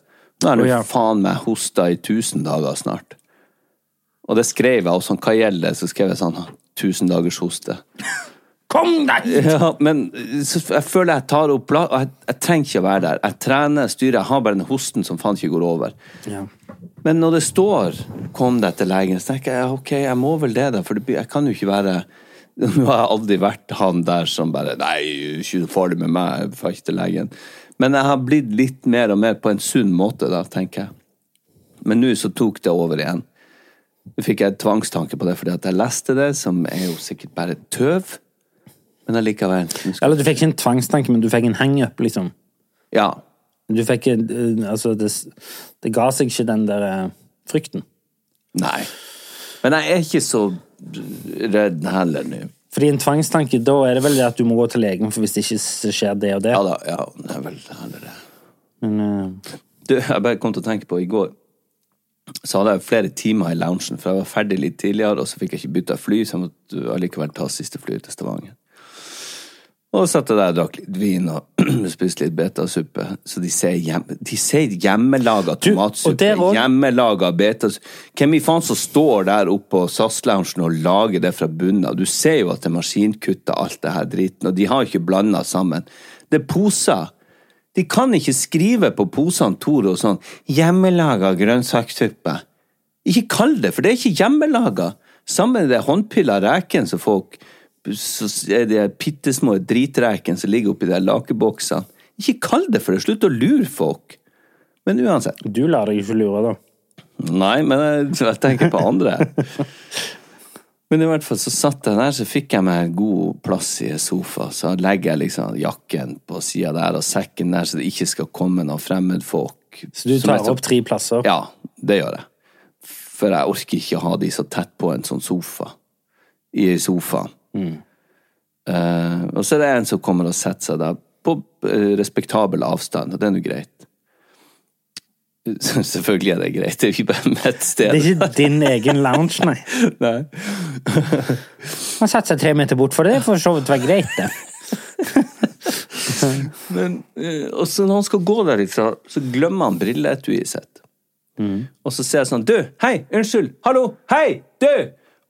Nå er
Å,
det
ja.
faen meg hosta i 1000 dager snart. Og det skrev jeg, og sånn, hva gjelder det? Så skrev jeg sånn 1000 dagers hoste.
Kom deg!
Ja, men eh, så jeg føler jeg tar opp plass, og jeg, jeg trenger ikke å være der. Jeg trener, styrer, jeg har bare den hosten som faen ikke går over.
Ja.
Men når det står 'kom deg til legen', så tenker jeg ok, jeg må vel det, da. For det, blir- jeg kan jo ikke være Nå har jeg aldri vært han der som bare 'nei, ikke farlig med meg, jeg får ikke til legen'. Men jeg har blitt litt mer og mer på en sunn måte, da, tenker jeg. Men nå så tok det over igjen. Nå fikk jeg tvangstanke på det fordi at jeg leste det, som er jo sikkert bare tøv. Men allikevel. nå skal-
Eller du fikk ikke en tvangstanke, men du fikk en hangup, liksom.
Ja.
Du fikk en eh, Altså, det, s- det ga seg ikke den der eh, frykten.
Nei. Men jeg er ikke så redd heller nå.
Fordi en tvangstanke, da er det vel det at du må gå til legen, for hvis det ikke s- skjer det og det
Ja da, ja, det er vel heller det.
Men eh,
Du, jeg bare kom til å tenke på i går så hadde jeg flere timer i loungen, for jeg var ferdig litt tidligere, og så fikk jeg ikke bytta fly, så jeg måtte allikevel ta siste fly til Stavanger. Og satt jeg der og drakk litt vin og spiste litt betasuppe. Så de sier, hjem, de sier hjemmelaga
Du, og
tomatsuppe.
der også-
Hjemmelaga betasuppe. Hvem i faen som står der oppe på SAS-loungen og lager det fra bunnen av? Du ser jo at det er maskinkutta alt det her driten, og de har ikke blanda sammen. Det er poser. De kan ikke skrive på posene Toro sånn 'hjemmelaga grønnsakssuppe'. Ikke kall det, for det er ikke hjemmelaga. Sammen med det håndpilla reken som folk så er det bittesmå dritreken som ligger oppi de lakeboksene. Ikke kall det for det! Slutt å lure folk! Men uansett.
du lar deg ikke lure, da.
Nei, men jeg, jeg tenker på andre. Men i hvert fall så satt jeg der, så fikk jeg meg en god plass i en sofa. Så legger jeg liksom jakken på sida der og sekken der, så det ikke skal komme noen fremmedfolk.
Så du
Som jeg
tar
så-
opp tre plasser.
Ja, det gjør jeg. For jeg orker ikke å ha de så tett på en sånn sofa. I en sofa.
Mm.
Eh, og så er det en som kommer og setter seg der, på eh, respektabel avstand, og det er nå greit. Selvfølgelig er det greit, det er jo ikke bare mitt sted.
Det er ikke din egen lounge, nei.
Nei.
Man satte seg tre meter bort for det, for så vidt var greit, det.
Men, eh, og så når han skal gå derifra, så glemmer han brilleetuiet sitt.
Mm.
Og så ser jeg sånn Du! Hei! Unnskyld! Hallo! Hei! Du!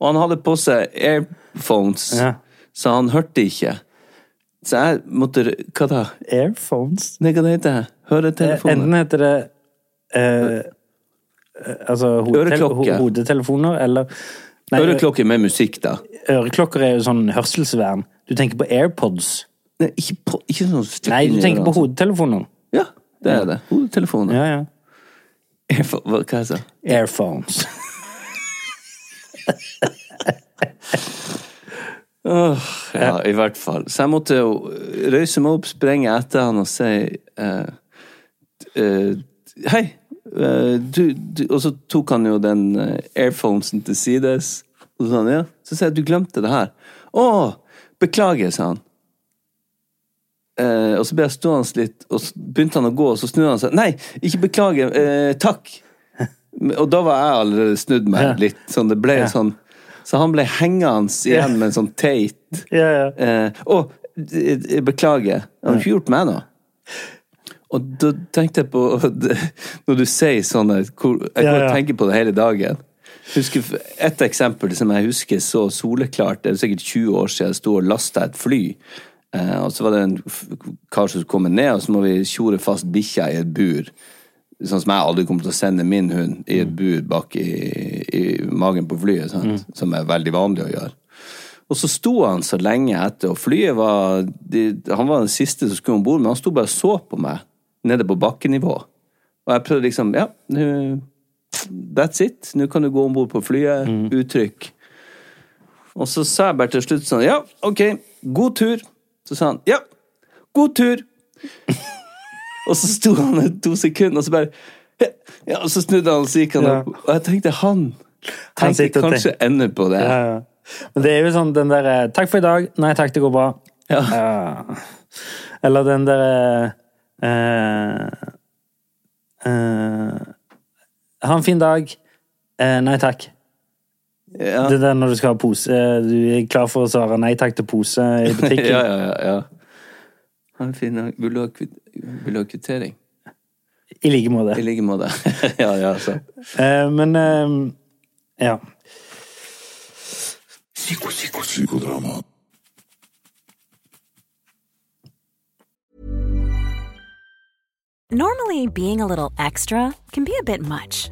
Og han hadde på seg airphones,
Ja.
så han hørte ikke. Så jeg måtte Hva da?
Airphones.
Nei, hva det heter det?
Eh,
Høretelefoner?
Enten heter det eh, Altså hodetel
Øreklokke.
ho- hodetelefoner, eller nei,
Øreklokke med musikk, da.
ø- Øreklokker er jo sånn hørselsvern. Du tenker på AirPods.
Nei, ikke, på, ikke sånn stykke
Nei, du
inn i
tenker på
ørene.
hodetelefoner.
Ja, det er det. Hodetelefoner.
Ja, ja.
Airphone- Hva, hva jeg sa
Airphones.
Ja, i hvert fall. Så jeg måtte jo røyse meg opp, sprenge etter han og si eh, eh, Hei! eh, du, du, og så tok han jo den eh, airphonesen til sides. Og så sa han, ja. Så sier jeg du glemte det her. Å! Beklager, sa han. Eh, og så ble jeg stående litt, og så begynte han å gå, og så snudde han seg. Nei, ikke beklager. Eh, takk! Og da var jeg allerede snudd
Ja.
meg litt. Sånn, det ble sånn Så han ble hengende igjen med en sånn teit
ja, ja.
Eh, å, d- d- beklager. Jeg har ikke gjort meg noe. Og da tenkte jeg på eh, Når du sier sånne hvor, Jeg
Ja,
går og
ja.
tenker på det hele dagen. Husker, et eksempel som jeg husker så soleklart, det er sikkert 20 år siden jeg sto og lasta et fly. Eh, og så var det en f- kar som kom ned, og så må vi tjore fast bikkja i et bur. Sånn som jeg aldri kommer til å sende min hund
Mm.
i et bur bak i, i magen på flyet, sant? som er veldig vanlig å gjøre. Og så sto han så lenge etter, og flyet var de, Han var den siste som skulle om bord, men han sto bare og så på meg nede på bakkenivå. Og jeg prøvde liksom Ja, nå That's it. Nå kan du gå om bord på flyet.
Mm.
Uttrykk. Og så sa jeg bare til slutt sånn Ja, OK. God tur. Så sa han Ja, god tur. og så sto han i to sekunder, og så bare ja, Og så snudde han, og så gikk han
Ja.
opp. Og jeg tenkte, han
Han
tenker
sitter og
kanskje ennå på det.
Ja, ja. Men det er jo sånn den derre 'Takk for i dag. Nei takk, det går bra'.
Ja.
Ja. Eller den derre eh, eh, Ha en fin dag. Eh, nei takk.
Ja.
Det der når du skal ha pose eh, Du er klar for å svare nei takk til pose i butikken.
ja, ja, ja, ja. Ha en fin dag. Vil du ha kvitt- vil du ha kvittering?
I like måte.
I like måte. ja, ja, så.
Eh, men eh, ja.
Psyko, psyko, psykodrama.
Normally, being a little extra can be a bit much,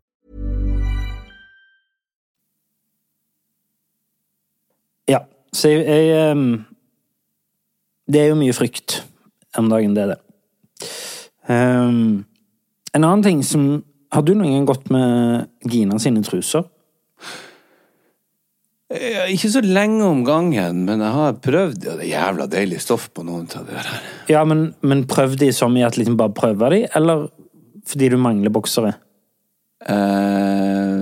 ja. Så jeg, jeg ehm, Det er jo mye frykt om dagen, det er det. Ehm, en annen ting som Har du noen gang gått med Gina sine truser?
Ja, Ikke så lenge om gangen, men jeg har prøvd. Ja, det er jævla deilig stoff på noen av de her.
Ja, men, men prøv de som i at liksom bare prøver de, eller fordi du mangler boksere?
Eh,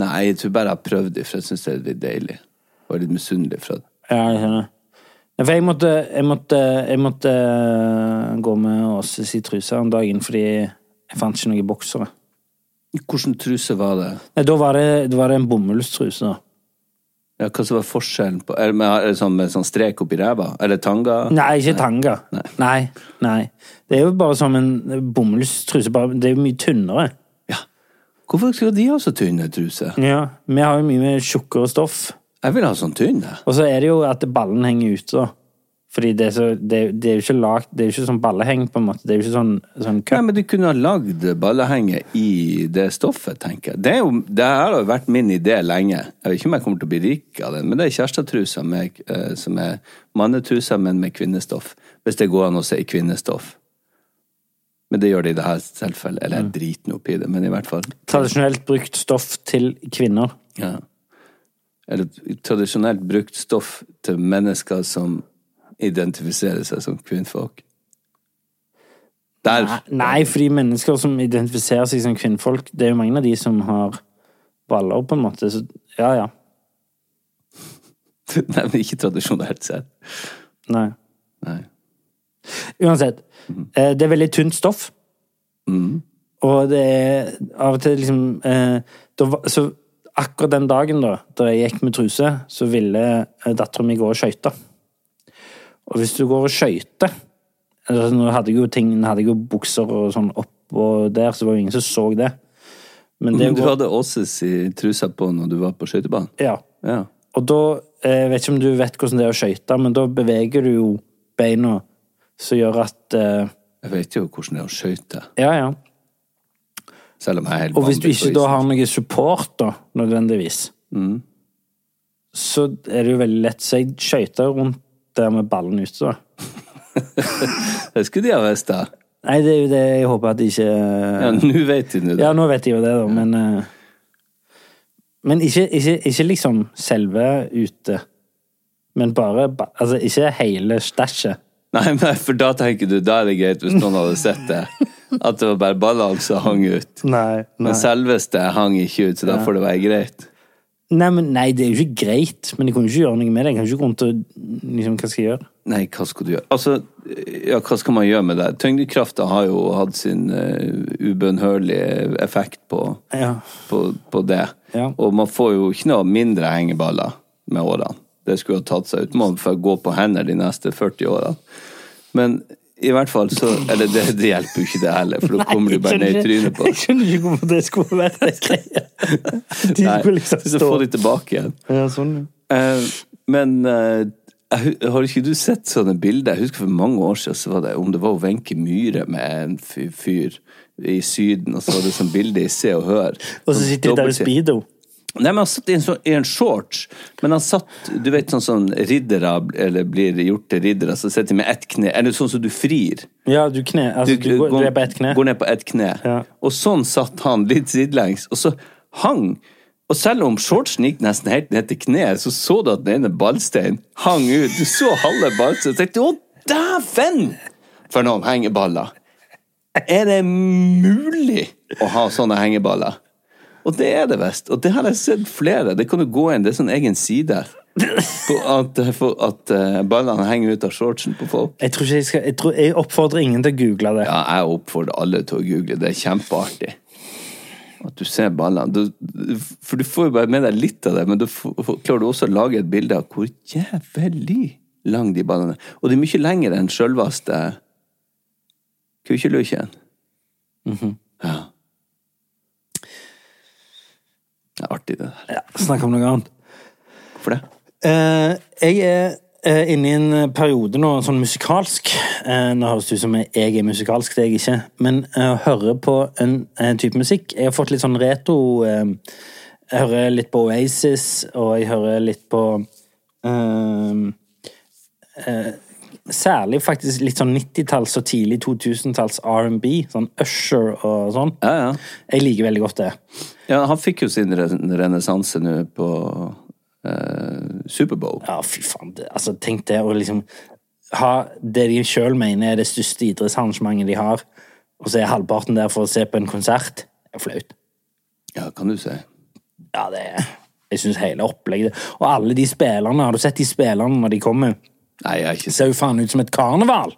nei, jeg tror bare jeg har prøvd det, for jeg syns det er litt deilig. Og litt misunnelig fra det.
Ja, jeg skjønner. Nei, for jeg måtte, jeg måtte, jeg måtte eh, gå med Åse sin truse om dagen fordi jeg fant ikke noen boksere.
Hvilken truse var det?
Nei, da var det, da var det en bomullstruse, da.
Ja, hva som var forskjellen på Er det med, er det sånn, med sånn strek oppi ræva? Eller tanga?
Nei, ikke tanga. Nei. nei. Det er jo bare som en bomullstruse, bare, det er jo mye tynnere.
Ja. Hvorfor skal de ha så tynne truser?
Ja. Vi har jo mye mer tjukkere stoff.
Jeg vil ha sånn tynn, jeg.
Og så er det jo at ballen henger ute, da. Fordi det er, så, det, det er jo ikke lagt, det er jo ikke sånn balleheng, på en måte. Det er jo ikke sånn, sånn
Nei,
cup.
men du kunne ha lagd ballehenger i det stoffet, tenker jeg. Det, er jo, det her har jo vært min idé lenge. Jeg vet ikke om jeg kommer til å bli rik av den, men det er kjærestatruser med, eh, som er mannetruser, men med kvinnestoff. Hvis det går an å si kvinnestoff. Men det gjør det i det her tilfellet. Eller jeg driter nå oppi det, men i hvert fall.
Tradisjonelt brukt stoff til kvinner.
Ja. Eller tradisjonelt brukt stoff til mennesker som identifiserer seg som kvinnfolk. Der.
Nei, fordi mennesker som identifiserer seg som kvinnfolk, det er jo mange av de som har baller, på en måte. Så ja, ja.
Nei, men ikke tradisjonelt sett.
Nei.
Nei. Mhm.
Uansett. Eh, det er veldig tynt stoff. Og det er av og til liksom eh, da, var- Så akkurat den dagen da da jeg gikk med truse, så ville eh, dattera mi gå og skøyte. Og hvis du går og skøyter altså, Nå hadde jeg jo ting, nå hadde jeg jo bukser og sånn oppå der, så det var jo ingen som så det. Men det
Men du
går,
hadde Åses i trusa på når du var på skøytebanen?
ja.
Ja.
Og da eh, Jeg vet ikke om du vet hvordan det er å skøyte, men da beveger du jo beina som gjør at eh,
Jeg vet jo hvordan det er å skøyte,
Ja, ja.
selv om jeg er helt
Og hvis du
vanlig på
ikke da
isen.
har noe support, da, nødvendigvis, så er det jo veldig lett. Så jeg skøyter rundt der med ballen ute, da.
Det skulle de ha visst, da.
Nei, det er jo det jeg håper at de ikke
Ja, nå vet de nå det.
Ja, nå vet de jo det, da, men eh, Men ikke, ikke, ikke liksom selve ute, men bare ba- Altså, ikke hele stæsjet.
Nei, men for da tenker du da er det greit hvis noen hadde sett det. At det var bare ballene som hang ut.
Nei,
Men selveste hang ikke ut, så da får det være greit.
Nei, men nei, det er jo ikke greit, men jeg kunne ikke gjøre noe med det. Jeg kan ikke gå rundt og liksom, Hva skal jeg gjøre?
Nei, hva skal du gjøre? Altså, ja, hva skal man gjøre med det? Tyngdekrafta har jo hatt sin eh, ubønnhørlige effekt på
Ja.
på, på det.
Ja.
Og man får jo ikke noe mindre hengeballer med årene. Det skulle ha tatt seg ut. Man får gå på hender de neste 40 årene. Men i hvert fall så Eller det, det hjelper jo ikke det heller, for da kommer du bare ned i trynet på
Jeg skjønner ikke hvorfor det skulle være en greie. De
Nei,
skulle liksom
Så
stå
får de tilbake igjen.
ja, sånn.
Eh, men eh, jeg hu- har ikke du sett sånne bilder? Jeg husker for mange år siden så var det om det var Wenche Myhre med en fy- fyr i Syden, og så var det sånn bilde i Se og Hør.
Og så sitter de der i speedo.
Nei, men han satt i en, sånn, i en shorts. Men han satt Du vet sånn som riddere bl- eller blir gjort til riddere, så sitter de med ett kne Eller sånn som du frir.
Ja, du, kne, altså, du, går, du er på ett kne.
Går ned på ett kne.
Ja.
Og sånn satt han litt sidelengs, og så hang. Og selv om shortsen gikk nesten helt ned til kneet, så så du at den ene ballsteinen hang ut. Du så halve ballsteinen og tenkte 'Å, dæven!' For noen hengeballer. Er det mulig å ha sånne hengeballer? Og det er det visst. Og det har jeg sett flere. Det kan du gå inn, det er sånn egen side. På at, for at eh, ballene henger ut av shortsen på folk.
Jeg, tror ikke jeg, skal, jeg, tror, jeg oppfordrer ingen til å google det.
Ja, jeg oppfordrer alle til å google. Det er kjempeartig. At du ser ballene. Du, for du får jo bare med deg litt av det, men du får, klarer du også å lage et bilde av hvor jævlig lang de ballene er. Og de er mye lengre enn sjølveste kukkjelukken. Mhm. Ja. Det er artig, det der.
Snakk om noe annet.
Hvorfor det?
Eh, jeg er eh, inne i en periode nå, sånn musikalsk eh, Nå høres det ut som jeg- jeg er musikalsk, det er jeg ikke. Men uh, hører på en, en type musikk. Jeg har fått litt sånn retro eh, Jeg hører litt på Oasis, og jeg hører litt på ehm, eh, Særlig faktisk litt sånn 90-talls og tidlig 2000-talls R&B, sånn Usher og sånn.
Ja, ja.
Jeg liker veldig godt det.
Ja, han fikk jo sin re- renessanse nå på eh, Superbowl.
Ja, fy faen. Det, altså, tenk det å liksom ha det de sjøl mener er det største idrettsarrangementet de har, og så er halvparten der for å se på en konsert. Det er flaut.
Ja, kan du si.
Ja, det er Jeg syns hele opplegget Og alle de spillerne, har du sett de spillerne når de kommer?
Nei, jeg er
Det
ikke sikker.
ser jo faen ut som et karneval!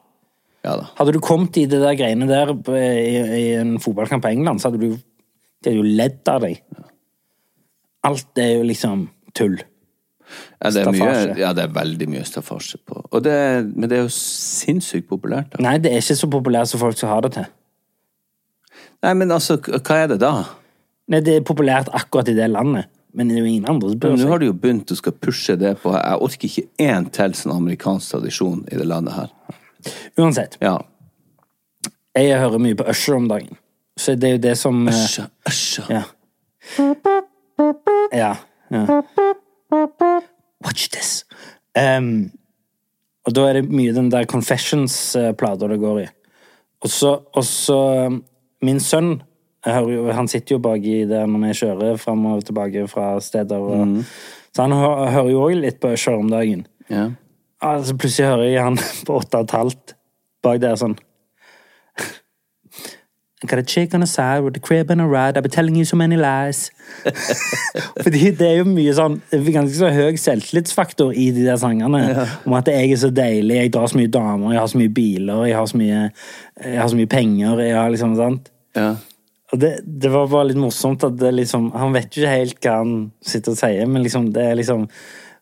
Ja da.
Hadde du kommet i det der greiene der på- i, i en fotballkamp på England, så hadde du De hadde jo ledd av deg. Alt er jo liksom tull.
Ja, det er mye,
Staffasje.
ja, det er veldig mye staffasje på. Og det, er- men det er jo sinnssykt populært. da.
Nei, det er ikke så populært som folk som har det til.
Nei, men altså, k- hva er det da?
Nei, det er populært akkurat i det landet, men det er jo ingen andre som bryr
Nå
seg.
har du jo begynt å skal pushe det på. Jeg orker ikke én til sånn amerikansk tradisjon i det landet her.
Uansett,
Ja.
jeg hører mye på Usher om dagen, så det er jo det som eh,
Æsja, æsja.
Ja. Ja. ja. Watch this. Ehm, og da er det mye den der Confessions-plata det går i. Og så, og så um, Min sønn jeg hører jo, Han sitter jo baki der når vi kjører fram og tilbake fra steder. Og, Så han hø hører jo òg litt på Usher om dagen.
Ja.
Altså, plutselig hører jeg han på åtte og et halvt bak der sånn I got a chick on the side with a crib and a ride. I've been telling you so many lies. Fordi det er jo mye sånn det er ganske så høy selvtillitsfaktor i de der sangene. Om at jeg er så deilig, jeg drar så mye damer, jeg har så mye biler, jeg har så mye, jeg har så mye penger. jeg har liksom, sant?
ja.
Og det, det var bare litt morsomt at det liksom, han vet jo ikke helt hva han sitter og sier, men liksom, det er liksom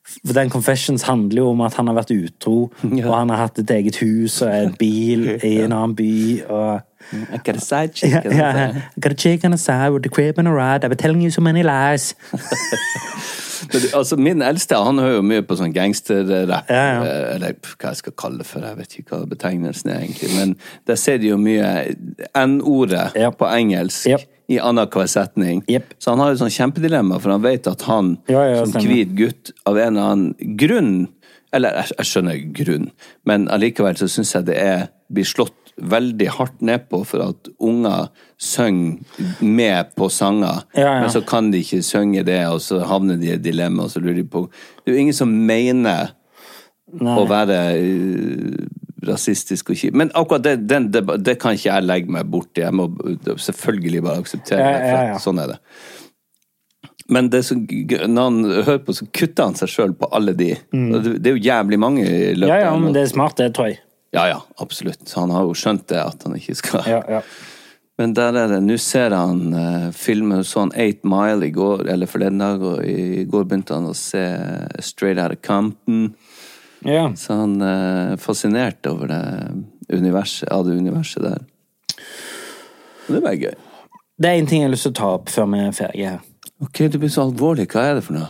for den Confessions handler jo om at han har vært utro, og han har hatt et eget hus og en bil i en annen by. og...
I got a side chick.
Ja,
and
ja,
a-
I got a chick on the side with a crib and a ride. I've been telling you so many lies.
Men du, altså, min eldste han hører jo mye på sånn gangsterrapp.
Ja, ja.
eh, Eller pff, hva jeg skal kalle det for, jeg vet ikke hva betegnelsen er egentlig. Men der ser de jo mye N-ordet
Ja.
på engelsk
Jep.
i annenhver setning.
Jep.
Så han har jo sånn kjempedilemma, for han vet at han
Ja, ja,
som
stemmer.
hvit gutt av en eller annen grunn Eller jeg, jeg skjønner grunn, men allikevel så syns jeg det er blir slått veldig hardt ned på for at unger synger med på sanger,
Ja, ja.
men så kan de ikke synge det, og så havner de i et dilemma, og så lurer de på Det er jo ingen som mener å være eh, rasistisk og kjip. Men akkurat det, den, det, det kan ikke jeg legge meg borti. Jeg må selvfølgelig bare akseptere
Ja,
det, for
ja, ja.
sånn er det. Men det som, når han hører på, så kutter han seg sjøl på alle de. Og Det, det er jo jævlig mange i løpet
Mm. Ja, ja,
av en-
men det er smart, det, tror jeg.
ja, ja, absolutt. Så han har jo skjønt det, at han ikke skal
Ja, ja.
men der er det Nå ser jeg han eh, filmen sånn Eight Mile i går, eller forleden dag, og i går begynte han å se Straight Out of Compton.
Ja.
Så han er fascinert over det universet, av det universet der. Og det var gøy.
Det er én ting jeg har lyst til å ta opp før vi er ferdige her.
Ok, du blir så alvorlig. Hva er det for noe?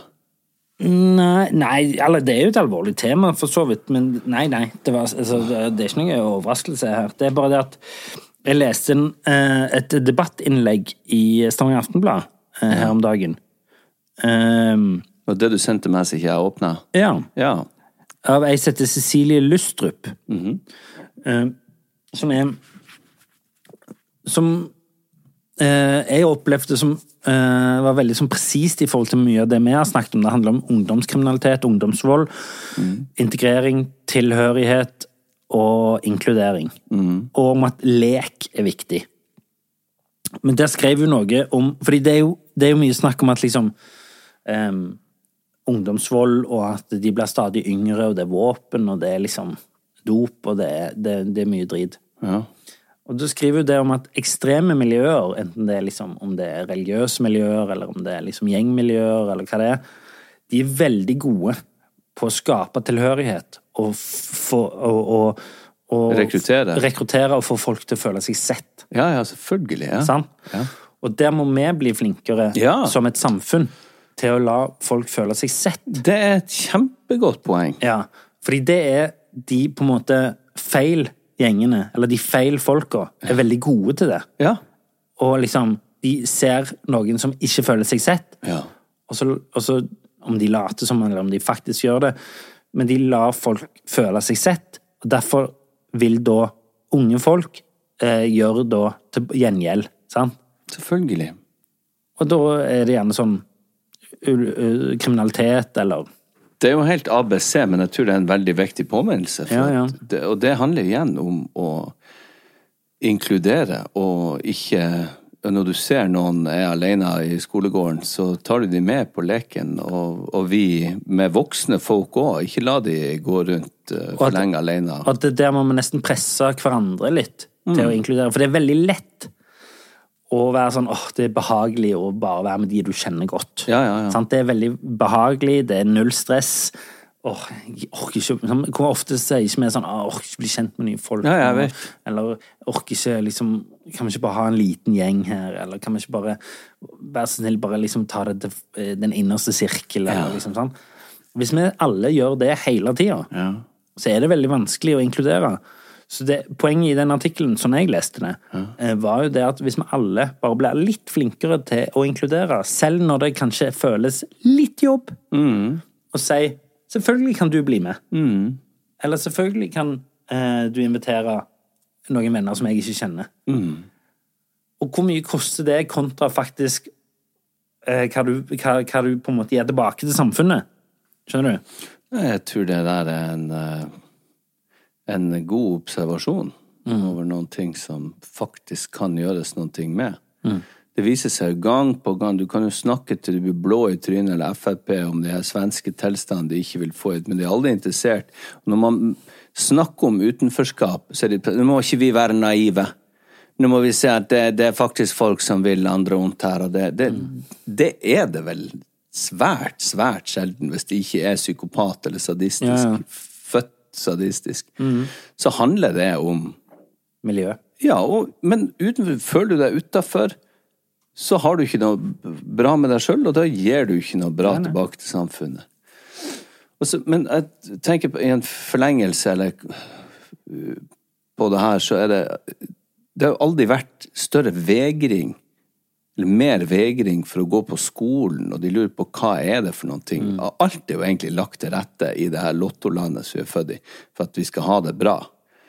Nei, nei eller det er jo et alvorlig tema, for så vidt, men nei, nei. Det, var, altså, det det er ikke noen overraskelse her. Det er bare det at jeg leste en, eh, et debattinnlegg i Stavanger Aftenblad eh, her om dagen. Ehm,
Og det du sendte meg som ikke jeg åpna?
ja.
Ja.
Av ei som heter Cecilie Lustrup. Eh, som er Som eh, jeg opplevde som eh, var veldig sånn presist i forhold til mye av det vi har snakket om. Det handler om ungdomskriminalitet, ungdomsvold, integrering, tilhørighet og inkludering. Og om at lek er viktig. Men der skrev hun noe om fordi det er jo, det er jo mye snakk om at liksom eh, em, ungdomsvold, og at de blir stadig yngre, og det er våpen, og det er liksom dop, og det er, det, det er mye drit.
ja.
Og du skriver jo det om at ekstreme miljøer, enten det er liksom, om det er religiøse miljøer, eller om det er liksom gjengmiljøer, eller hva det er, de er veldig gode på å skape tilhørighet og, f- få- og, og, og
Rekruttere.
rekruttere og få folk til å føle seg sett.
Ja, ja, selvfølgelig. Ja.
Sant? Og der må vi bli flinkere
Ja.
som et samfunn til å la folk føle seg sett.
Det er et kjempegodt poeng.
Ja, fordi det er de på en måte feil gjengene, eller de feil folka, er veldig gode til det.
Ja.
Og liksom, de ser noen som ikke føler seg sett,
Ja.
og så, og så om de later som, eller om de faktisk gjør det, men de lar folk føle seg sett. og Derfor vil da unge folk eh, gjøre da til gjengjeld, sant?
Selvfølgelig.
Og da er det gjerne sånn ul- ø, kriminalitet eller
Det er jo helt ABC, men jeg tror det er en veldig viktig påminnelse. for
Ja, ja.
at Det, og det handler igjen om å inkludere og ikke Når du ser noen er alene i skolegården, så tar du de med på leken, og, og vi med voksne folk òg. Ikke la de gå rundt eh,
at-
for lenge alene.
Og at det der må vi nesten presse hverandre litt til å
Mm.
inkludere. For det er veldig lett å være sånn åh, det er behagelig å bare være med de du kjenner godt.
Ja, ja, ja.
Sant? Det er veldig behagelig, det er null stress. Åh, jeg orker ikke sånn, Hvor ofte sier ikke vi sånn «Åh, jeg orker ikke bli kjent med nye folk.
Ja, jeg vet.
Eller «Jeg orker ikke liksom Kan vi ikke bare ha en liten gjeng her? Eller kan vi ikke bare Vær så snill, bare liksom ta det til eh, den innerste sirkel, eller liksom sånn. Hvis vi alle gjør det hele tida, så er det veldig vanskelig å inkludere. Så det, Poenget i den artikkelen, sånn jeg leste det, eh, var jo det at hvis vi alle bare blir litt flinkere til å inkludere, selv når det kanskje føles litt jobb,
Mm.
og si 'selvfølgelig kan du bli med', eller 'selvfølgelig kan eh, du invitere noen venner som jeg ikke kjenner'. Og hvor mye koster det kontra faktisk eh, hva, du, hva, hva du på en måte gir tilbake til samfunnet? Skjønner du?
Nei, Jeg tror det der er en, eh, en god observasjon over noen ting som faktisk kan gjøres noen ting med. Det viser seg gang på gang. Du kan jo snakke til du blir blå i trynet eller Frp om de her svenske tilstandene de ikke vil få ut, men de er aldri interessert. Når man snakker om utenforskap, så er det Nå må ikke vi være naive. Nå må vi se at det, det er faktisk folk som vil andre vondt her, og det, det, det er det vel svært, svært sjelden hvis de ikke er psykopat eller sadistisk, født sadistisk. Så handler det om
Miljø.
Ja, og, men utenfor, føler du deg utafor, så har du ikke noe bra med deg sjøl, og da gir du ikke noe bra tilbake til samfunnet. Og så, men jeg tenker på i en forlengelse eller uh, på det her, så er det Det har jo aldri vært større vegring, eller mer vegring, for å gå på skolen, og de lurer på hva er det for noen ting. Alt er jo egentlig lagt til rette i det her lottolandet som vi er født i, for at vi skal ha det bra.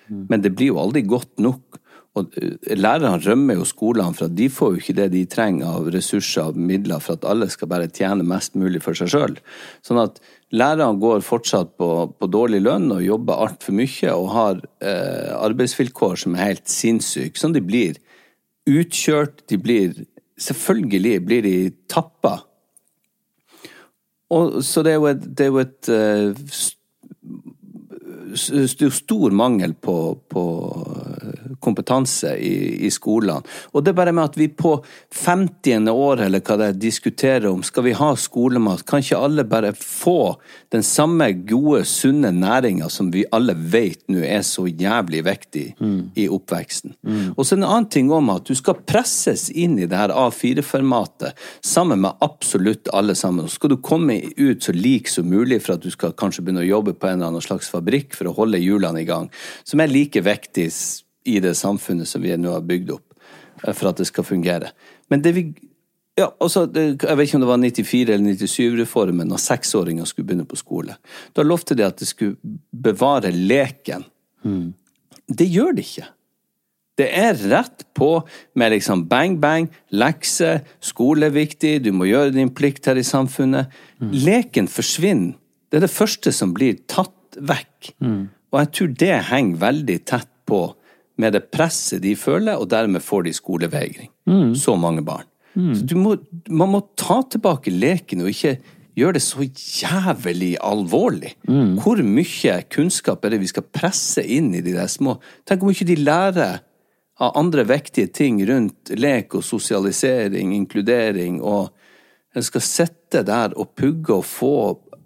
Men det blir jo aldri godt nok. Og eh, lærerne rømmer jo skolene, for at de får jo ikke det de trenger av ressurser og midler for at alle skal bare tjene mest mulig for seg sjøl. Sånn at lærerne går fortsatt på, på dårlig lønn og jobber altfor mye og har eh, arbeidsvilkår som er helt sinnssyke. Sånn de blir utkjørt, de blir Selvfølgelig blir de tappa. Og, så det er jo et, det er jo et eh, s- det er jo stor mangel på, på eh, kompetanse i, i skolene. Og det er bare med at vi på 50. år eller hva det er, diskuterer om skal vi ha skolemat, kan ikke alle bare få den samme gode, sunne næringa som vi alle vet nå er så jævlig viktig i oppveksten. Og så en annen ting om at du skal presses inn i det her A4-formatet sammen med absolutt alle sammen. Så skal du komme ut så lik som mulig for at du skal kanskje begynne å jobbe på en eller annen slags fabrikk for å holde hjulene i gang, som er like viktig s- i det samfunnet som vi nå har bygd opp, eh, for at det skal fungere. Men det vi ja, altså, det, Jeg vet ikke om det var 94- eller 97-reformen når seksåringer skulle begynne på skole. Da lovte de at de skulle bevare leken. Det gjør de ikke. Det er rett på med liksom bang, bang, lekse, skole er viktig, du må gjøre din plikt her i samfunnet. Leken forsvinner. Det er det første som blir tatt vekk. Og jeg tror det henger veldig tett på med det presset de føler, og dermed får de skolevegring. Så mange barn. Så du må, man må ta tilbake leken og ikke gjøre det så jævlig alvorlig. Hvor mye kunnskap er det vi skal presse inn i de der små? Tenk om ikke de lærer av andre viktige ting rundt lek og sosialisering, inkludering, og en skal sitte der og pugge og få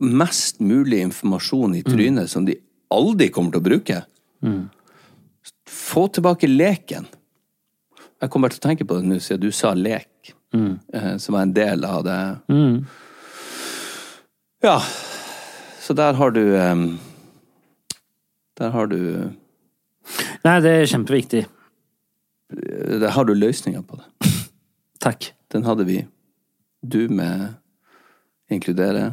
mest mulig informasjon i trynet som de aldri kommer til å bruke. Få tilbake leken. Jeg kommer til å tenke på det nå siden du sa lek, eh, som er en del av det. Ja, så der har du eh, Der har du
Nei, det er kjempeviktig.
eh, Der har du løsninger på det.
Takk.
Den hadde vi. Du med inkludere.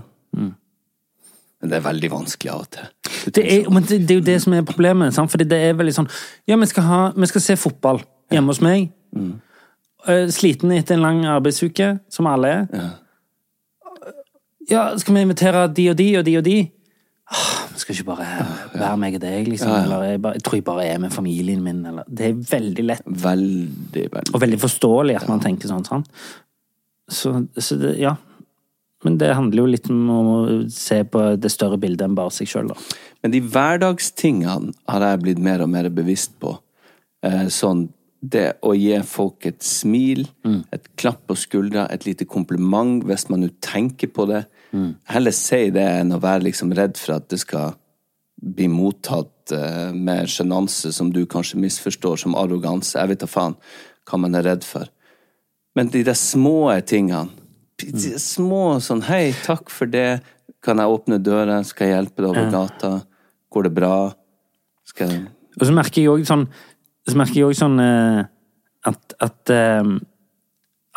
Men det er veldig vanskelig av og til. Du
Det
tenker
er, men det, det er jo det som er problemet. Sant? Fordi det er veldig sånn Ja, vi skal, ha, vi skal se fotball hjemme hos meg. Eh, Sliten etter en lang arbeidsuke, som alle er. Ja. skal vi invitere de og de og de og de? Ah, Vi skal ikke bare være meg og deg, liksom. Eller jeg, bare, jeg tror jeg bare er med familien min, eller Det er veldig lett
sånn, Veldig, veldig
og veldig forståelig at man tenker sånn. sant? Så, så det, ja. Men det handler jo litt om å se på det større bildet enn bare seg sjøl, da.
Men de hverdagstingene har jeg blitt mer og mer bevisst på. Eh, sånn det å gi folk et smil, et klapp på skuldra, et lite kompliment hvis man nå tenker på det. Heller si det enn å være liksom redd for at det skal bli mottatt eh, med sjenanse som du kanskje misforstår som arroganse. Jeg vet da faen hva man er redd for. Men de der små tingene de der Små sånn Hei, takk for det. Kan jeg åpne døra? Skal jeg hjelpe deg over gata? Går det bra? Skal jeg
Og så merker jeg òg sånn, så merker jeg også sånn eh, at, at eh,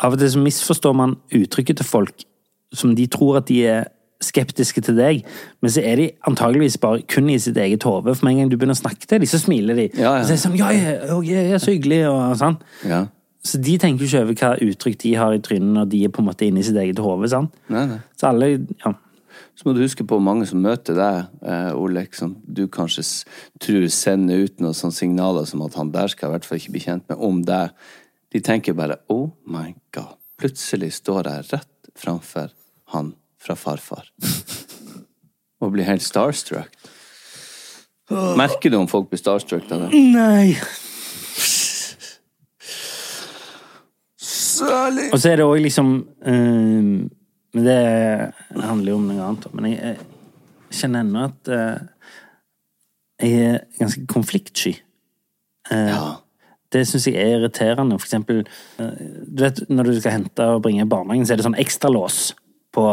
Av og til så misforstår man uttrykket til folk som de tror at de er skeptiske til deg, men så er de antageligvis bare kun i sitt eget hode. For med en gang du begynner å snakke til dem, så smiler de.
Ja, ja.
Og så er det sånn, ja, jeg, jeg, jeg er så hyggelig, og sånn.
Ja.
Så de tenker jo ikke over hva uttrykk de har i trynet når de er på en måte inne i sitt eget hode. sant?
Nei, nei.
Så alle ja.
Så må du huske på mange som møter deg, eh, Olek, som du kanskje s- tror sender ut noen sånne signaler som at han der skal i hvert fall ikke bli kjent med, om deg. De tenker bare 'oh my god', plutselig står jeg rett framfor han fra farfar. Og blir helt starstruck. Merker du om folk blir starstruck av det?
Nei.
Særlig!
Og så er det òg liksom eh, Men det handler jo om noe annet. da. Men jeg, jeg kjenner ennå at eh, jeg er ganske konfliktsky.
Ja.
Det syns jeg er irriterende. For eksempel, eh, du vet, når du skal hente og bringe i barnehagen, så er det sånn ekstralås på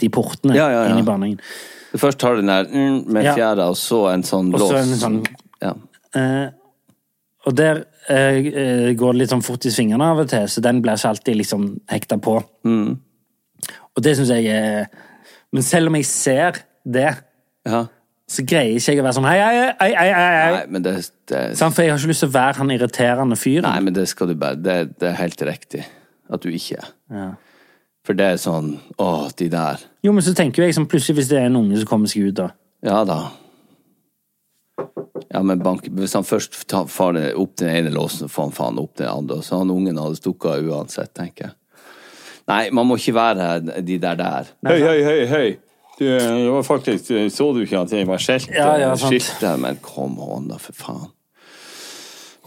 de portene
Ja, ja, ja.
inn i barnehagen.
Du først har den der mm, med
Ja.
fjæra, og så en sånn
Og
lås.
så en sånn-
Ja.
Og der eh, eh, går det litt sånn fort i svingene av og til, så den blir ikke alltid liksom hekta på.
Mm.
Og det syns jeg er Men selv om jeg ser det,
ja.
så greier ikke jeg å være sånn hei, hei, hei, hei, hei, hei.
Nei, men det, det
Sant? For jeg har ikke lyst til å være han irriterende
Nei,
fyren.
men det skal du bare Det, det er helt riktig at du ikke er. For det er sånn Å, de der.
Jo, men så tenker jo jeg sånn plutselig hvis det er en unge som kommer seg ut, da.
Ja da. Ja, men bank, Hvis han først tar far ned- opp den ene låsen, så får han faen opp den andre. Så han ungen hadde stukket av uansett, tenker jeg. Nei, man må ikke være de der der.
Hei, hei, hei, hei. Du, det var faktisk, eh, så du ikke at jeg var skjelt? eh,
Ja, ja, sant.
Shit, da, men kom on, da, for faen.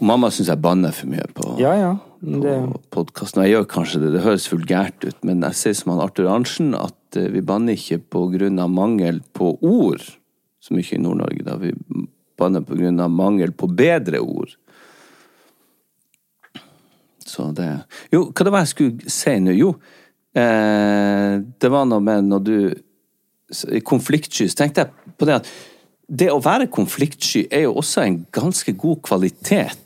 Og mamma syns jeg banner for mye på
Ja, ja.
på podkasten. Og jeg gjør kanskje det, det høres vulgært ut, men jeg sier som han Arthur Arntzen, at eh, vi banner ikke på grunn av mangel på ord, så mye i Nord-Norge, da. Vi banner på grunn av mangel på bedre ord. Så det Jo, hva det var jeg skulle si nå? Jo, eh, det var noe med når du så i konfliktsky, så tenkte jeg på det at det å være konfliktsky er jo også en ganske god kvalitet.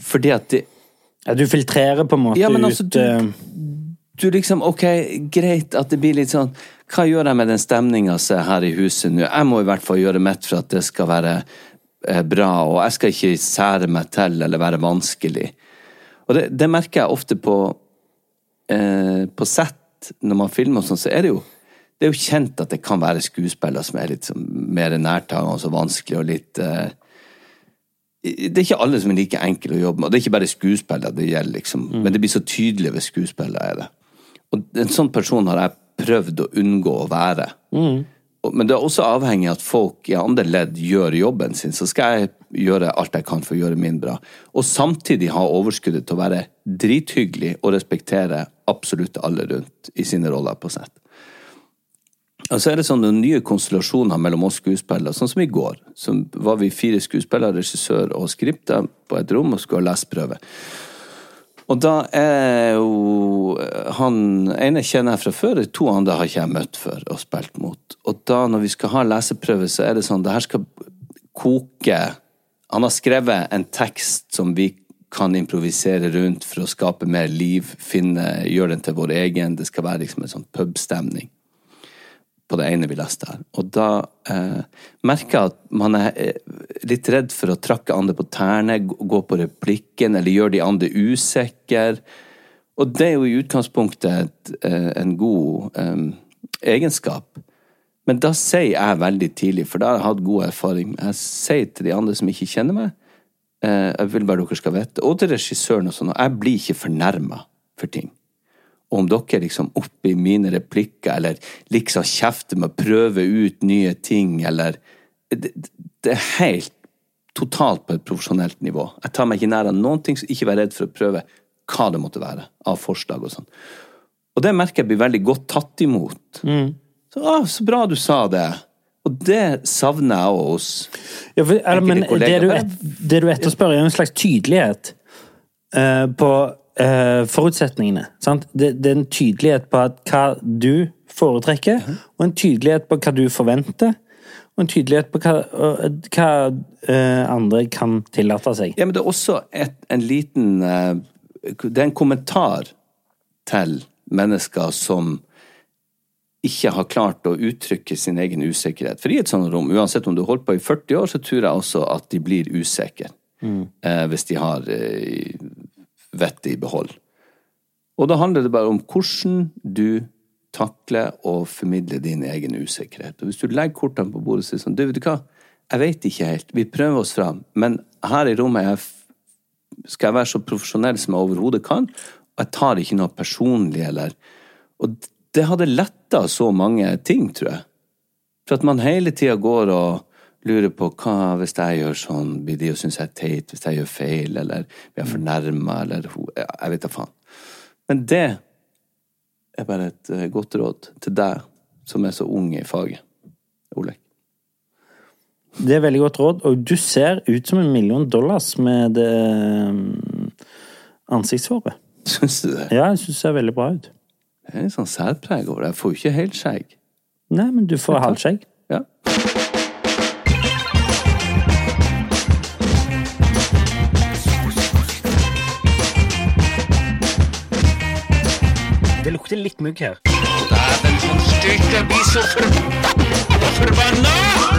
Fordi at det
ja du filtrerer på en måte
Ja, men altså,
ut
du-
eh,
du liksom, ok, greit at det blir litt sånn Hva gjør jeg med den stemninga som er her i huset nå? Jeg må i hvert fall gjøre mitt for at det skal være eh, bra, og jeg skal ikke sære meg til eller være vanskelig. Og det, det merker jeg ofte på eh, på sett, når man filmer og sånn, så er det jo det er jo kjent at det kan være skuespillere som er litt sånn mer nærtagende og så vanskelig og litt eh, det er ikke alle som er like enkle å jobbe med, og det er ikke bare skuespillere det gjelder, liksom. Men det blir så tydelig ved skuespillere, er det. Og en sånn person har jeg prøvd å unngå å være. Og- Men det er også avhengig av at folk i andre ledd gjør jobben sin, så skal jeg gjøre alt jeg kan for å gjøre min bra. Og samtidig ha overskuddet til å være drithyggelig og respektere absolutt alle rundt i sine roller på sett. Og så er det sånne nye konstellasjoner mellom oss skuespillere, sånn som i går. Så var vi fire skuespillere, regissør og skripter på et rom og skulle ha leseprøve. Og da er jo han ene kjenner jeg fra før, de to andre har ikke jeg møtt før og spilt mot. Og da, når vi skal ha leseprøve, så er det sånn det her skal koke Han har skrevet en tekst som vi kan improvisere rundt for å skape mer liv, finne, gjøre den til vår egen. Det skal være liksom en sånn pubstemning. på det ene vi leste her. Og da eh, merker jeg at man er eh, litt redd for å trakke andre på tærne, gå- gå på replikken, eller gjøre de andre usikre. Og det er jo i utgangspunktet et, eh, en god eh, egenskap. Men da sier jeg veldig tidlig, for da har jeg hatt god erfaring, jeg sier til de andre som ikke kjenner meg, eh, jeg vil bare dere skal vite, og til regissøren og sånn, og jeg blir ikke fornærma for ting. Og om dere liksom oppi mine replikker, eller liksom kjefter med å prøve ut nye ting, eller det, det er helt totalt på et profesjonelt nivå. Jeg tar meg ikke nær av noen ting, så ikke vær redd for å prøve hva det måtte være av forslag og sånn. Og det merker jeg blir veldig godt tatt imot. Så, ah, så bra du sa det. Og det savner jeg også hos
Ja, for, eller, men
Enkelte
det
kollegaer.
du, et, det du etterspør, er jo en slags tydelighet eh, på eh, forutsetningene. Sant? Det, det er en tydelighet på at hva du foretrekker, og en tydelighet på hva du forventer, og en tydelighet på hva, og, hva eh, andre kan tillate seg.
Ja, men det er også et, en liten eh, Det er en kommentar til mennesker som ikke har klart å uttrykke sin egen usikkerhet. For i et sånt rom, uansett om du holder på i 40 år, så tror jeg også at de blir usikre. Eh, hvis de har eh, vettet i behold. Og da handler det bare om hvordan du takler og formidler din egen usikkerhet. Og hvis du legger kortene på bordet og sier sånn Du, vet du hva, jeg vet ikke helt, vi prøver oss fram, men her i rommet er jeg f- skal jeg være så profesjonell som jeg overhodet kan, og jeg tar ikke noe personlig, eller Og d- det hadde letta så mange ting, tror jeg. For at man hele tida går og lurer på hva hvis jeg gjør sånn, blir de og syns jeg er teit, hvis jeg gjør feil, eller blir jeg fornærma, eller ho- ja, Jeg vet da faen. Men det er bare et eh, godt råd til deg som er så ung i faget, Olek.
Det er veldig godt råd, og du ser ut som en million dollars med det mm, ansiktshåret.
Syns du det?
Ja, jeg syns det ser veldig bra ut.
Det er litt sånn særpreg over det. Jeg får jo ikke helt skjegg.
Nei, men du får halvskjegg.
Ja.
Det lukter litt mugg her.
Dæven, sånn styrke blir så forbanna! Forbanna!